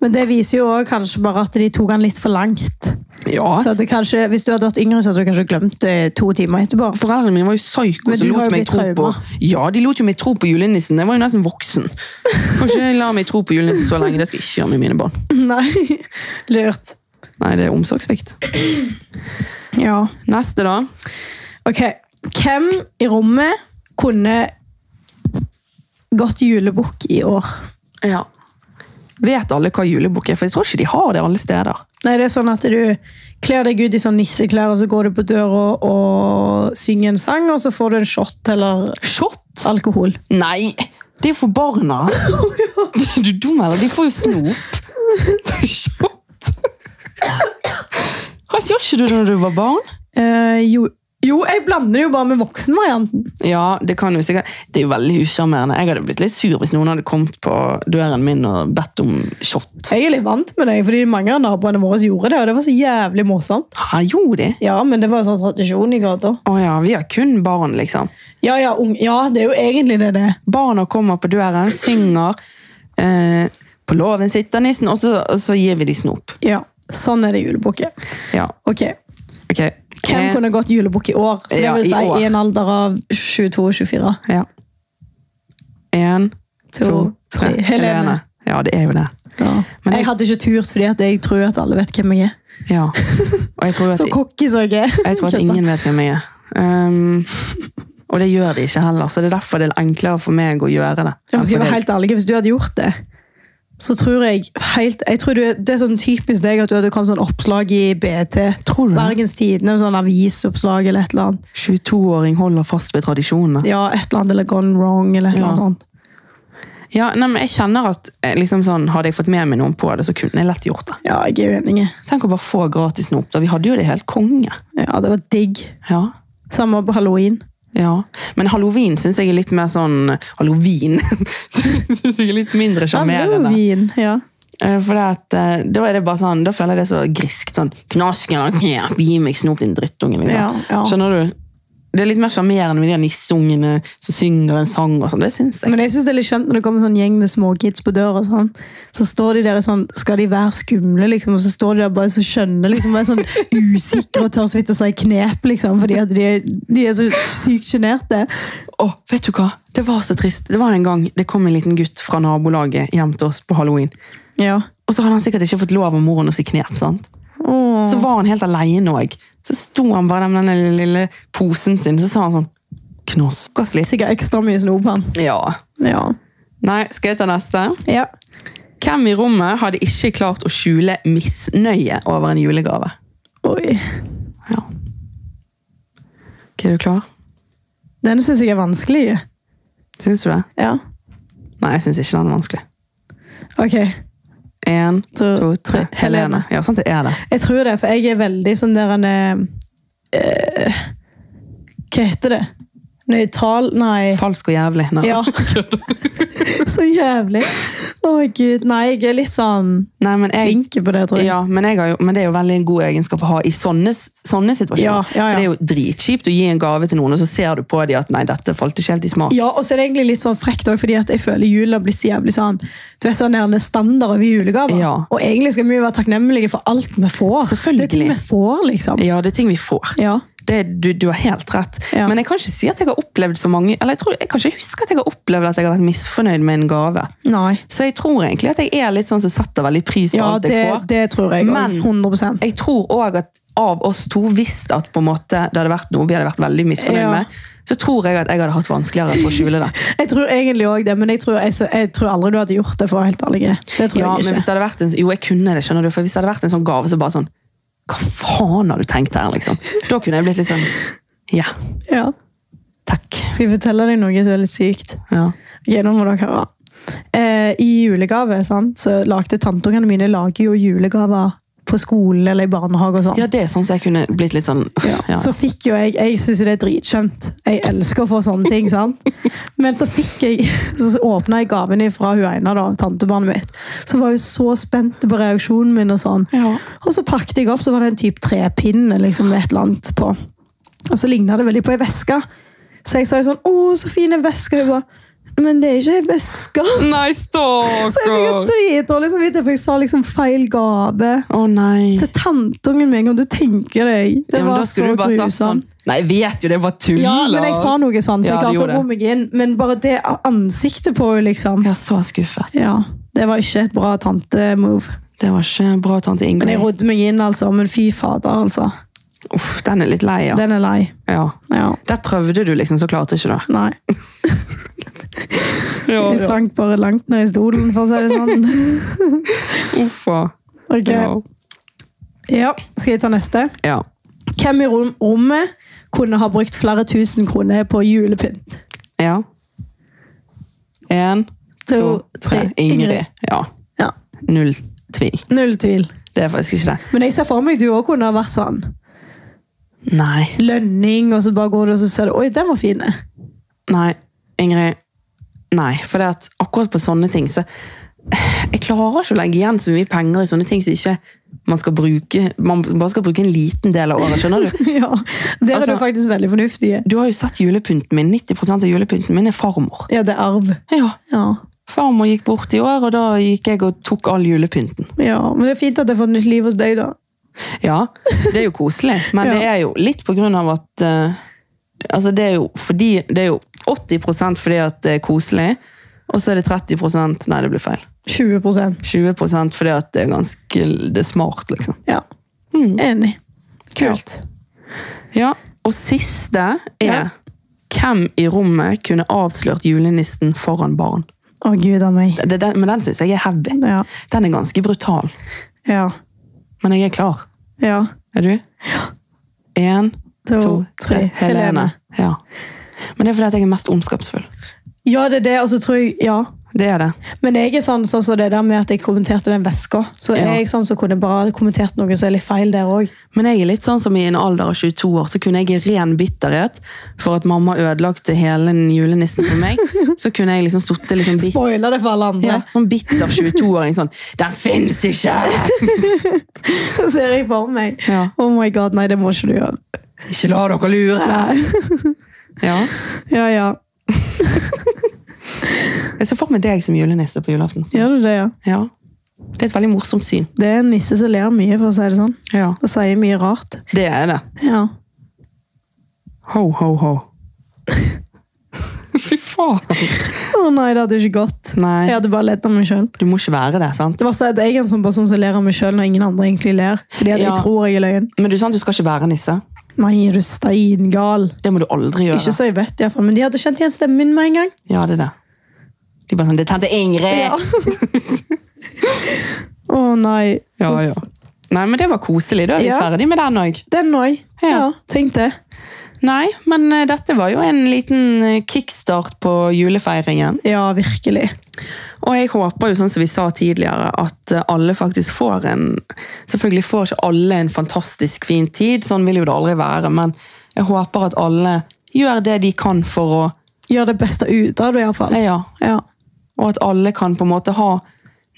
Speaker 2: Men det viser jo også kanskje bare at de tok han litt for langt.
Speaker 1: Ja.
Speaker 2: Så at det kanskje, hvis du hadde vært yngre, så hadde du kanskje glemt det to timer etterpå.
Speaker 1: Foreldrene mine var jo psyko,
Speaker 2: Men
Speaker 1: så
Speaker 2: du har
Speaker 1: lot
Speaker 2: jo
Speaker 1: meg
Speaker 2: blitt
Speaker 1: tro på
Speaker 2: trauma.
Speaker 1: Ja, de lot jo meg tro på julenissen. Jeg var jo nesten voksen. Kan ikke la meg tro på julenissen så lenge. Det skal jeg ikke gjøre med mine barn.
Speaker 2: Nei, lurt.
Speaker 1: Nei, det er omsorgssvikt.
Speaker 2: Ja.
Speaker 1: Neste, da.
Speaker 2: Ok, hvem i rommet kunne gått julebukk i år?
Speaker 1: Ja. Vet alle hva julebukk er? For jeg tror ikke de har det alle steder.
Speaker 2: Nei, det er sånn at du kler deg ut i sånn nisseklær, og så går du på døra og synger en sang, og så får du en shot eller
Speaker 1: Shot?
Speaker 2: alkohol.
Speaker 1: Nei! Det er jo for barna. Er du dum, eller? De får jo snop. Det er Shot! Hva gjør ikke du når du var barn?
Speaker 2: Eh, jo, jo, jeg blander jo bare med voksenvarianten.
Speaker 1: Ja, Det kan jo sikkert. Det er jo veldig usjarmerende. Jeg hadde blitt litt sur hvis noen hadde kommet på døren min og bedt om shot.
Speaker 2: Jeg er litt vant med det, fordi mange av naboene våre gjorde det, og det var så jævlig morsomt.
Speaker 1: Hæ, gjorde de?
Speaker 2: Ja, men det var en sånn tradisjon i gata.
Speaker 1: Å ja, vi har kun barn, liksom.
Speaker 2: Ja, ja, ung, ja, det er jo egentlig det det er.
Speaker 1: Barna kommer på døren, synger. Eh, på låven sitter nissen, og så, og så gir vi de snop.
Speaker 2: Ja, sånn er det julebukket.
Speaker 1: Ja,
Speaker 2: Ok,
Speaker 1: ok.
Speaker 2: hvem
Speaker 1: Eh,
Speaker 2: kunne gått julebukk i år? Så det
Speaker 1: Ja, i
Speaker 2: vil si
Speaker 1: år.
Speaker 2: i en alder av 22-24.
Speaker 1: Ja. En, to, tre.
Speaker 2: tre.
Speaker 1: Helene.
Speaker 2: Helene.
Speaker 1: Ja, det er jo det. Men jeg-
Speaker 2: Jeg hadde ikke turt, fordi at jeg tror at alle vet hvem jeg er.
Speaker 1: Ja. Og jeg tror at,
Speaker 2: Så cocky som jeg er.
Speaker 1: jeg tror at ingen vet hvem jeg er. Um, og det gjør de ikke heller, så det er derfor det er enklere for meg å gjøre det.
Speaker 2: Ja, men skal
Speaker 1: enn
Speaker 2: jeg
Speaker 1: for
Speaker 2: være
Speaker 1: deg.
Speaker 2: helt ærlig, Hvis du hadde gjort det, så tror jeg helt, jeg tror du, Det er sånn typisk deg at du hadde kommet sånn oppslag i BT.
Speaker 1: Tror du det?
Speaker 2: Bergens Tidende, sånn avisoppslag eller et eller annet.
Speaker 1: 22-åring holder fast ved tradisjonene.
Speaker 2: Ja, et eller annet, eller Gone Wrong, eller et eller annet
Speaker 1: Ja.
Speaker 2: sånt.
Speaker 1: Ja, nei, men jeg kjenner at eh, liksom sånn, Hadde jeg fått med meg noen på det, så kunne jeg lett gjort det.
Speaker 2: Ja, jeg er uenig.
Speaker 1: Tenk å bare få gratis snop. da. Vi hadde jo det helt konge.
Speaker 2: Ja, det var digg.
Speaker 1: Ja,
Speaker 2: Samme på halloween.
Speaker 1: ja. Men halloween syns jeg er litt mer sånn Halloween syns jeg er litt mindre sjarmerende.
Speaker 2: Halloween, ja.
Speaker 1: Eh, For det at, eh, da er det bare sånn, da føler jeg det så griskt sånn, knasken, og knep, gi meg snop din drittunge, liksom.
Speaker 2: Ja, ja.
Speaker 1: Skjønner du? Det er litt mer charmerende med de nissungene som synger en sang og sånn, det synes jeg.
Speaker 2: Men jeg synes det er litt skjønt når det kommer en sånn gjeng med småkids på døra. og Sånn. Så står de der i sånn Skal de være skumle, liksom? Og så står de der bare så skjønne, liksom. Og er sånn usikre og tør så vidt å si knep, liksom. Fordi at de er, de er så sykt sjenerte.
Speaker 1: Åh, vet du hva? Det var så trist. Det var en gang det kom en liten gutt fra nabolaget hjem til oss på Halloween.
Speaker 2: Ja.
Speaker 1: Og så hadde han sikkert ikke fått lov av moren å si knep, sant?
Speaker 2: Åh.
Speaker 1: Så var han helt alene også. Så sto han bare der med denne lille posen sin, så sa han sånn, knaskas litt.
Speaker 2: Sikkert ekstra mye snop, han.
Speaker 1: Ja.
Speaker 2: Ja.
Speaker 1: Nei, skal jeg ta neste?
Speaker 2: ja.
Speaker 1: Hvem i rommet hadde ikke klart å skjule misnøye over en julegave?
Speaker 2: Oi.
Speaker 1: Ja. Ok, er du klar?
Speaker 2: Den syns jeg er vanskelig.
Speaker 1: Syns du det?
Speaker 2: Ja.
Speaker 1: Nei, jeg syns ikke den er vanskelig.
Speaker 2: Ok.
Speaker 1: Én,
Speaker 2: To,
Speaker 1: to, tre.
Speaker 2: tre.
Speaker 1: Helene. Ja, sant det er det.
Speaker 2: Jeg tror det, for jeg er veldig sånn der en eh, Hva heter det? Nøytral? Nei.
Speaker 1: Falsk og jævlig. Nei.
Speaker 2: Ja. Så jævlig. Å, gud. Nei, jeg er litt sånn
Speaker 1: Nei, men jeg,
Speaker 2: flink på det, tror jeg.
Speaker 1: ja, men, jeg har jo, men det er jo veldig en god egenskap å ha i sånne, sånne situasjoner.
Speaker 2: Ja, ja, ja.
Speaker 1: For det er jo dritkjipt å gi en gave til noen, og så ser du på dem at nei, dette falt ikke helt i smak.
Speaker 2: Ja, og så er det egentlig litt sånn frekt også, fordi at jeg føler julen har blitt så jævlig sånn Du vet sånn der en standard over julegaver.
Speaker 1: Ja.
Speaker 2: Og egentlig skal vi jo være takknemlige for alt vi får.
Speaker 1: Selvfølgelig.
Speaker 2: Det er ting vi får, liksom.
Speaker 1: Ja, det er ting vi får.
Speaker 2: Ja.
Speaker 1: Det, du, du har helt rett.
Speaker 2: Ja.
Speaker 1: Men jeg kan ikke si at jeg har opplevd så mange Eller jeg, tror, jeg kan ikke huske at jeg har opplevd at jeg har vært misfornøyd med en gave.
Speaker 2: Nei.
Speaker 1: Så jeg tror egentlig at jeg er litt sånn som setter veldig pris på
Speaker 2: Ja,
Speaker 1: alt
Speaker 2: det,
Speaker 1: jeg får.
Speaker 2: det tror jeg
Speaker 1: Men-
Speaker 2: òg. 100
Speaker 1: Jeg tror òg at av oss to, hvis at på en måte det hadde vært noe vi hadde vært veldig misfornøyd
Speaker 2: Ja.
Speaker 1: med, så tror jeg at jeg hadde hatt vanskeligere for å skjule det.
Speaker 2: Jeg tror egentlig òg det, men jeg tror, jeg, jeg tror aldri du hadde gjort det, for å være helt ærlig. Det tror
Speaker 1: Ja, men
Speaker 2: jeg
Speaker 1: hvis
Speaker 2: ikke.
Speaker 1: det hadde vært en, jo, jeg kunne det, skjønner du, for hvis det hadde vært en sånn gave, så bare sånn Hva faen har du tenkt her, liksom? Da kunne jeg blitt litt sånn Ja,
Speaker 2: Ja.
Speaker 1: takk.
Speaker 2: Skal jeg fortelle deg noe som er litt sykt?
Speaker 1: Ja.
Speaker 2: Ok, nå må dere høre. Eh, I julegave sant, så lagde tanteungene mine lager jo julegaver på skolen eller i barnehage og sånn.
Speaker 1: ja, det er sånn som jeg kunne blitt litt sånn uff,
Speaker 2: Ja,
Speaker 1: ja.
Speaker 2: Så fikk jo jeg Jeg syns det er dritskjønt. Jeg elsker å få sånne ting. sant? Men så fikk jeg Så åpna jeg gaven fra hun ene, da, tantebarnet mitt. Så var hun så spent på reaksjonen min, og sånn.
Speaker 1: Ja.
Speaker 2: Og så pakket jeg opp, så var det en type trepinne liksom, med et eller annet på. Og så ligna det veldig på ei veske. Så jeg sa jo sånn Å, så fin en veske. Hun bare Men det er ikke ei veske.
Speaker 1: Nei,
Speaker 2: Så jeg fikk jo
Speaker 1: stakkar!
Speaker 2: dritdårlig samvittighet, for jeg sa liksom feil gave
Speaker 1: Å nei.
Speaker 2: til tanteungen min. Kan du tenke deg?
Speaker 1: Ja,
Speaker 2: Det
Speaker 1: men
Speaker 2: var
Speaker 1: da skulle
Speaker 2: så
Speaker 1: du bare sagt sånn
Speaker 2: grusomt.
Speaker 1: Nei, jeg vet jo, det var tull.
Speaker 2: Ja, men jeg sa noe sånn, så
Speaker 1: Ja,
Speaker 2: jeg
Speaker 1: du
Speaker 2: klarte
Speaker 1: gjorde
Speaker 2: å ro meg inn. Men bare det ansiktet på henne, liksom.
Speaker 1: Ja, så skuffet.
Speaker 2: Ja, det var ikke et bra tante-move.
Speaker 1: Det var ikke bra, tante
Speaker 2: Men jeg
Speaker 1: Ingrid.
Speaker 2: rodde meg inn, altså. Men fy fader, altså.
Speaker 1: Uff, den er litt lei, ja.
Speaker 2: Den er lei.
Speaker 1: ja.
Speaker 2: Ja.
Speaker 1: Der prøvde du liksom, så klarte ikke det.
Speaker 2: Nei. Jeg sank bare langt ned i stolen, for å si det sånn.
Speaker 1: Uff, ja.
Speaker 2: Ok,
Speaker 1: Ja.
Speaker 2: Ja, skal jeg ta neste?
Speaker 1: Ja.
Speaker 2: Hvem i rom- rommet kunne ha brukt flere tusen kroner på julepynt?
Speaker 1: Ja. En,
Speaker 2: To,
Speaker 1: to,
Speaker 2: tre.
Speaker 1: tre.
Speaker 2: Ingrid.
Speaker 1: Ingrid. Ja.
Speaker 2: Ja,
Speaker 1: Null tvil.
Speaker 2: Null tvil.
Speaker 1: Det er faktisk ikke det.
Speaker 2: Men jeg ser for meg du òg kunne ha vært sånn
Speaker 1: Nei.
Speaker 2: lønning, og så bare går du og så ser du Oi, den var fin.
Speaker 1: Nei, Ingrid. Nei, for det at akkurat på sånne ting så Jeg klarer ikke å legge igjen så mye penger i sånne ting som ikke man skal bruke Man bare skal bruke en liten del av året, skjønner du?
Speaker 2: ja, Der er
Speaker 1: Altså-
Speaker 2: du faktisk veldig fornuftig.
Speaker 1: Du har jo sett julepynten min. 90 av julepynten min er farmor.
Speaker 2: Ja, det er arv.
Speaker 1: Ja,
Speaker 2: Ja.
Speaker 1: Farmor gikk bort i år, og da gikk jeg og tok all julepynten.
Speaker 2: ja, Men det er fint at jeg har fått nytt liv hos deg, da.
Speaker 1: Ja, det er jo koselig, men
Speaker 2: Ja.
Speaker 1: det er jo litt på grunn av at eh, altså det, er jo fordi, det er jo 80 fordi at det er koselig, og så er det 30 Nei, det blir feil.
Speaker 2: 20
Speaker 1: 20 fordi at det er ganske det er smart, liksom.
Speaker 2: Ja. Enig. Kult.
Speaker 1: Ja, Og siste er
Speaker 2: Ja.
Speaker 1: Hvem i rommet kunne avslørt julenissen foran barn?
Speaker 2: Å, gud a meg.
Speaker 1: Det, det, men den syns jeg er heavy.
Speaker 2: Ja.
Speaker 1: Den er ganske brutal.
Speaker 2: Ja.
Speaker 1: Men jeg er klar.
Speaker 2: ja.
Speaker 1: Er du? Én,
Speaker 2: To,
Speaker 1: to,
Speaker 2: tre.
Speaker 1: tre. Helene.
Speaker 2: Helene.
Speaker 1: Ja. Men det er fordi at jeg er mest ondskapsfull.
Speaker 2: Ja, det er det, og så tror jeg Ja.
Speaker 1: Det er det.
Speaker 2: Men jeg er sånn sånn som det der med at jeg kommenterte den veska. Så er
Speaker 1: Ja.
Speaker 2: jeg sånn som kunne bare kommentert noe som er litt feil der òg.
Speaker 1: Men jeg er litt sånn som i en alder av 22 år, så kunne jeg i ren bitterhet for at mamma ødelagte hele julenissen for meg, så kunne jeg liksom sittet liksom bit,
Speaker 2: Spoiler det for alle andre.
Speaker 1: ja, sånn bitter 22-åring sånn Den fins ikke!
Speaker 2: Det ser jeg for meg.
Speaker 1: Ja.
Speaker 2: Oh my god, nei, det må ikke du gjøre.
Speaker 1: Ikke la dere lure! Ja.
Speaker 2: Ja, ja.
Speaker 1: Jeg ser for meg deg som julenisse på julaften.
Speaker 2: Gjør du det, ja?
Speaker 1: Ja. Det er et veldig morsomt syn.
Speaker 2: Det er en nisse som ler mye, for å si det sånn.
Speaker 1: Ja.
Speaker 2: Og sier mye rart.
Speaker 1: Det er det.
Speaker 2: Ja.
Speaker 1: Ho, ho, ho. Fy faen!
Speaker 2: Å nei, det hadde jo ikke gått. Jeg
Speaker 1: Nei,
Speaker 2: hadde bare ledd av meg sjøl.
Speaker 1: du må ikke være det, sant?
Speaker 2: Det verste er at jeg er en sånn person som ler av meg sjøl når ingen andre egentlig ler. Fordi at
Speaker 1: Ja.
Speaker 2: jeg tror jeg er løgn.
Speaker 1: Men du, sant, du skal ikke være nisse.
Speaker 2: Nei, er du steingal?
Speaker 1: Det må du aldri gjøre.
Speaker 2: Ikke så jeg vet, i hvert fall. Men de hadde kjent igjen stemmen min med en gang.
Speaker 1: Ja, det er det. De bare sånn, det er tante Ingrid!
Speaker 2: Ja. Å nei.
Speaker 1: ja, ja. Nei, men det var koselig. Da er vi
Speaker 2: Ja.
Speaker 1: ferdig med den òg.
Speaker 2: Den òg. Ja.
Speaker 1: Ja.
Speaker 2: tenk det.
Speaker 1: Nei, men eh, dette var jo en liten eh, kickstart på julefeiringen.
Speaker 2: Ja, virkelig.
Speaker 1: Og jeg håper jo, sånn som vi sa tidligere, at eh, alle faktisk får en Selvfølgelig får ikke alle en fantastisk fin tid, sånn vil jo det aldri være, men jeg håper at alle gjør det de kan for å eh,
Speaker 2: Gjør det beste ut av det, iallfall.
Speaker 1: Ja, ja.
Speaker 2: Ja.
Speaker 1: Og at alle kan på en måte ha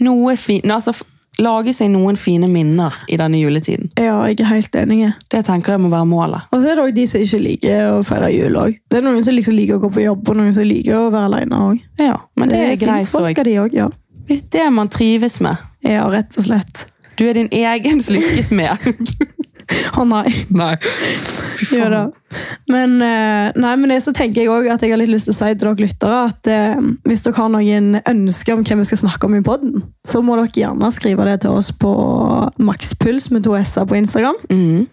Speaker 1: noe fint Altså f- lage seg noen fine minner i denne juletiden.
Speaker 2: ja, jeg er helt enig.
Speaker 1: Det tenker jeg må være målet.
Speaker 2: Og så er det òg de som ikke liker å feire jul òg. Det er noen som liksom liker å gå på jobb, og noen som liker å være alene òg.
Speaker 1: Ja, men det, er
Speaker 2: finnes
Speaker 1: greit
Speaker 2: folk
Speaker 1: òg.
Speaker 2: av de òg, ja.
Speaker 1: Hvis det er man trives med
Speaker 2: Ja, rett og slett.
Speaker 1: Du er din egen lykkes med.
Speaker 2: Å nei.
Speaker 1: Nei.
Speaker 2: Ja, da. Men, eh, nei, men det, så tenker jeg også at jeg har litt lyst til å si til dere lyttere at eh, hvis dere har noen ønsker om hvem vi skal snakke om i podden, så må dere gjerne skrive det til oss på makspuls med to s-er på Instagram.
Speaker 1: Mm.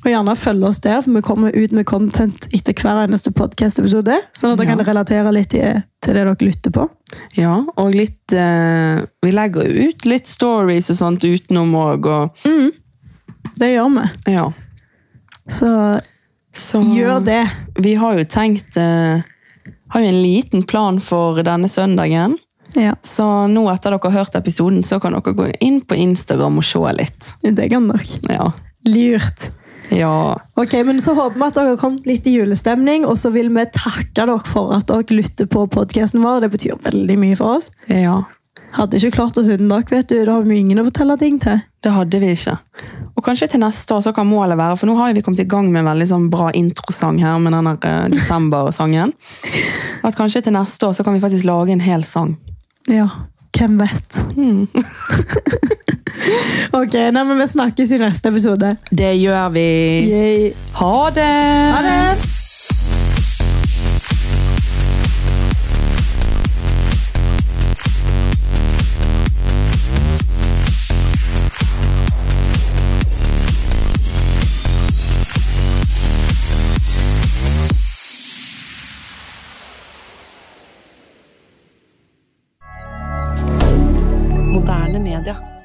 Speaker 2: Og gjerne følge oss der, for vi kommer ut med content etter hver eneste podcast-episode, sånn at dere
Speaker 1: Ja.
Speaker 2: kan relatere litt til, til det dere lytter på.
Speaker 1: ja, og litt eh, Vi legger jo ut litt stories og sånt utenom òg, og
Speaker 2: Mm. Det gjør vi.
Speaker 1: Ja.
Speaker 2: Så
Speaker 1: Så
Speaker 2: gjør det.
Speaker 1: Vi har jo tenkt eh, Har jo en liten plan for denne søndagen.
Speaker 2: Ja,
Speaker 1: Så nå etter dere har hørt episoden, så kan dere gå inn på Instagram og se litt.
Speaker 2: det kan dere.
Speaker 1: Ja.
Speaker 2: Lurt.
Speaker 1: Ja.
Speaker 2: Ok, men Så håper vi at dere har kommet litt i julestemning, og så vil vi takke dere for at dere lytter på podkasten vår. Det betyr veldig mye for oss.
Speaker 1: ja.
Speaker 2: Hadde ikke klart oss uten dere, vet du. Da har vi ingen å fortelle ting til.
Speaker 1: Det hadde vi ikke. Og kanskje til neste år så kan målet være, for nå har jo vi kommet i gang med en veldig sånn bra introsang her med den der, eh, desember-sangen. At kanskje til neste år så kan vi faktisk lage en hel sang.
Speaker 2: Ja, hvem vet? ok, nei, men vi snakkes i neste episode.
Speaker 1: Det gjør vi.
Speaker 2: Yay.
Speaker 1: Ha det!
Speaker 2: Ha det!
Speaker 3: Moderne media.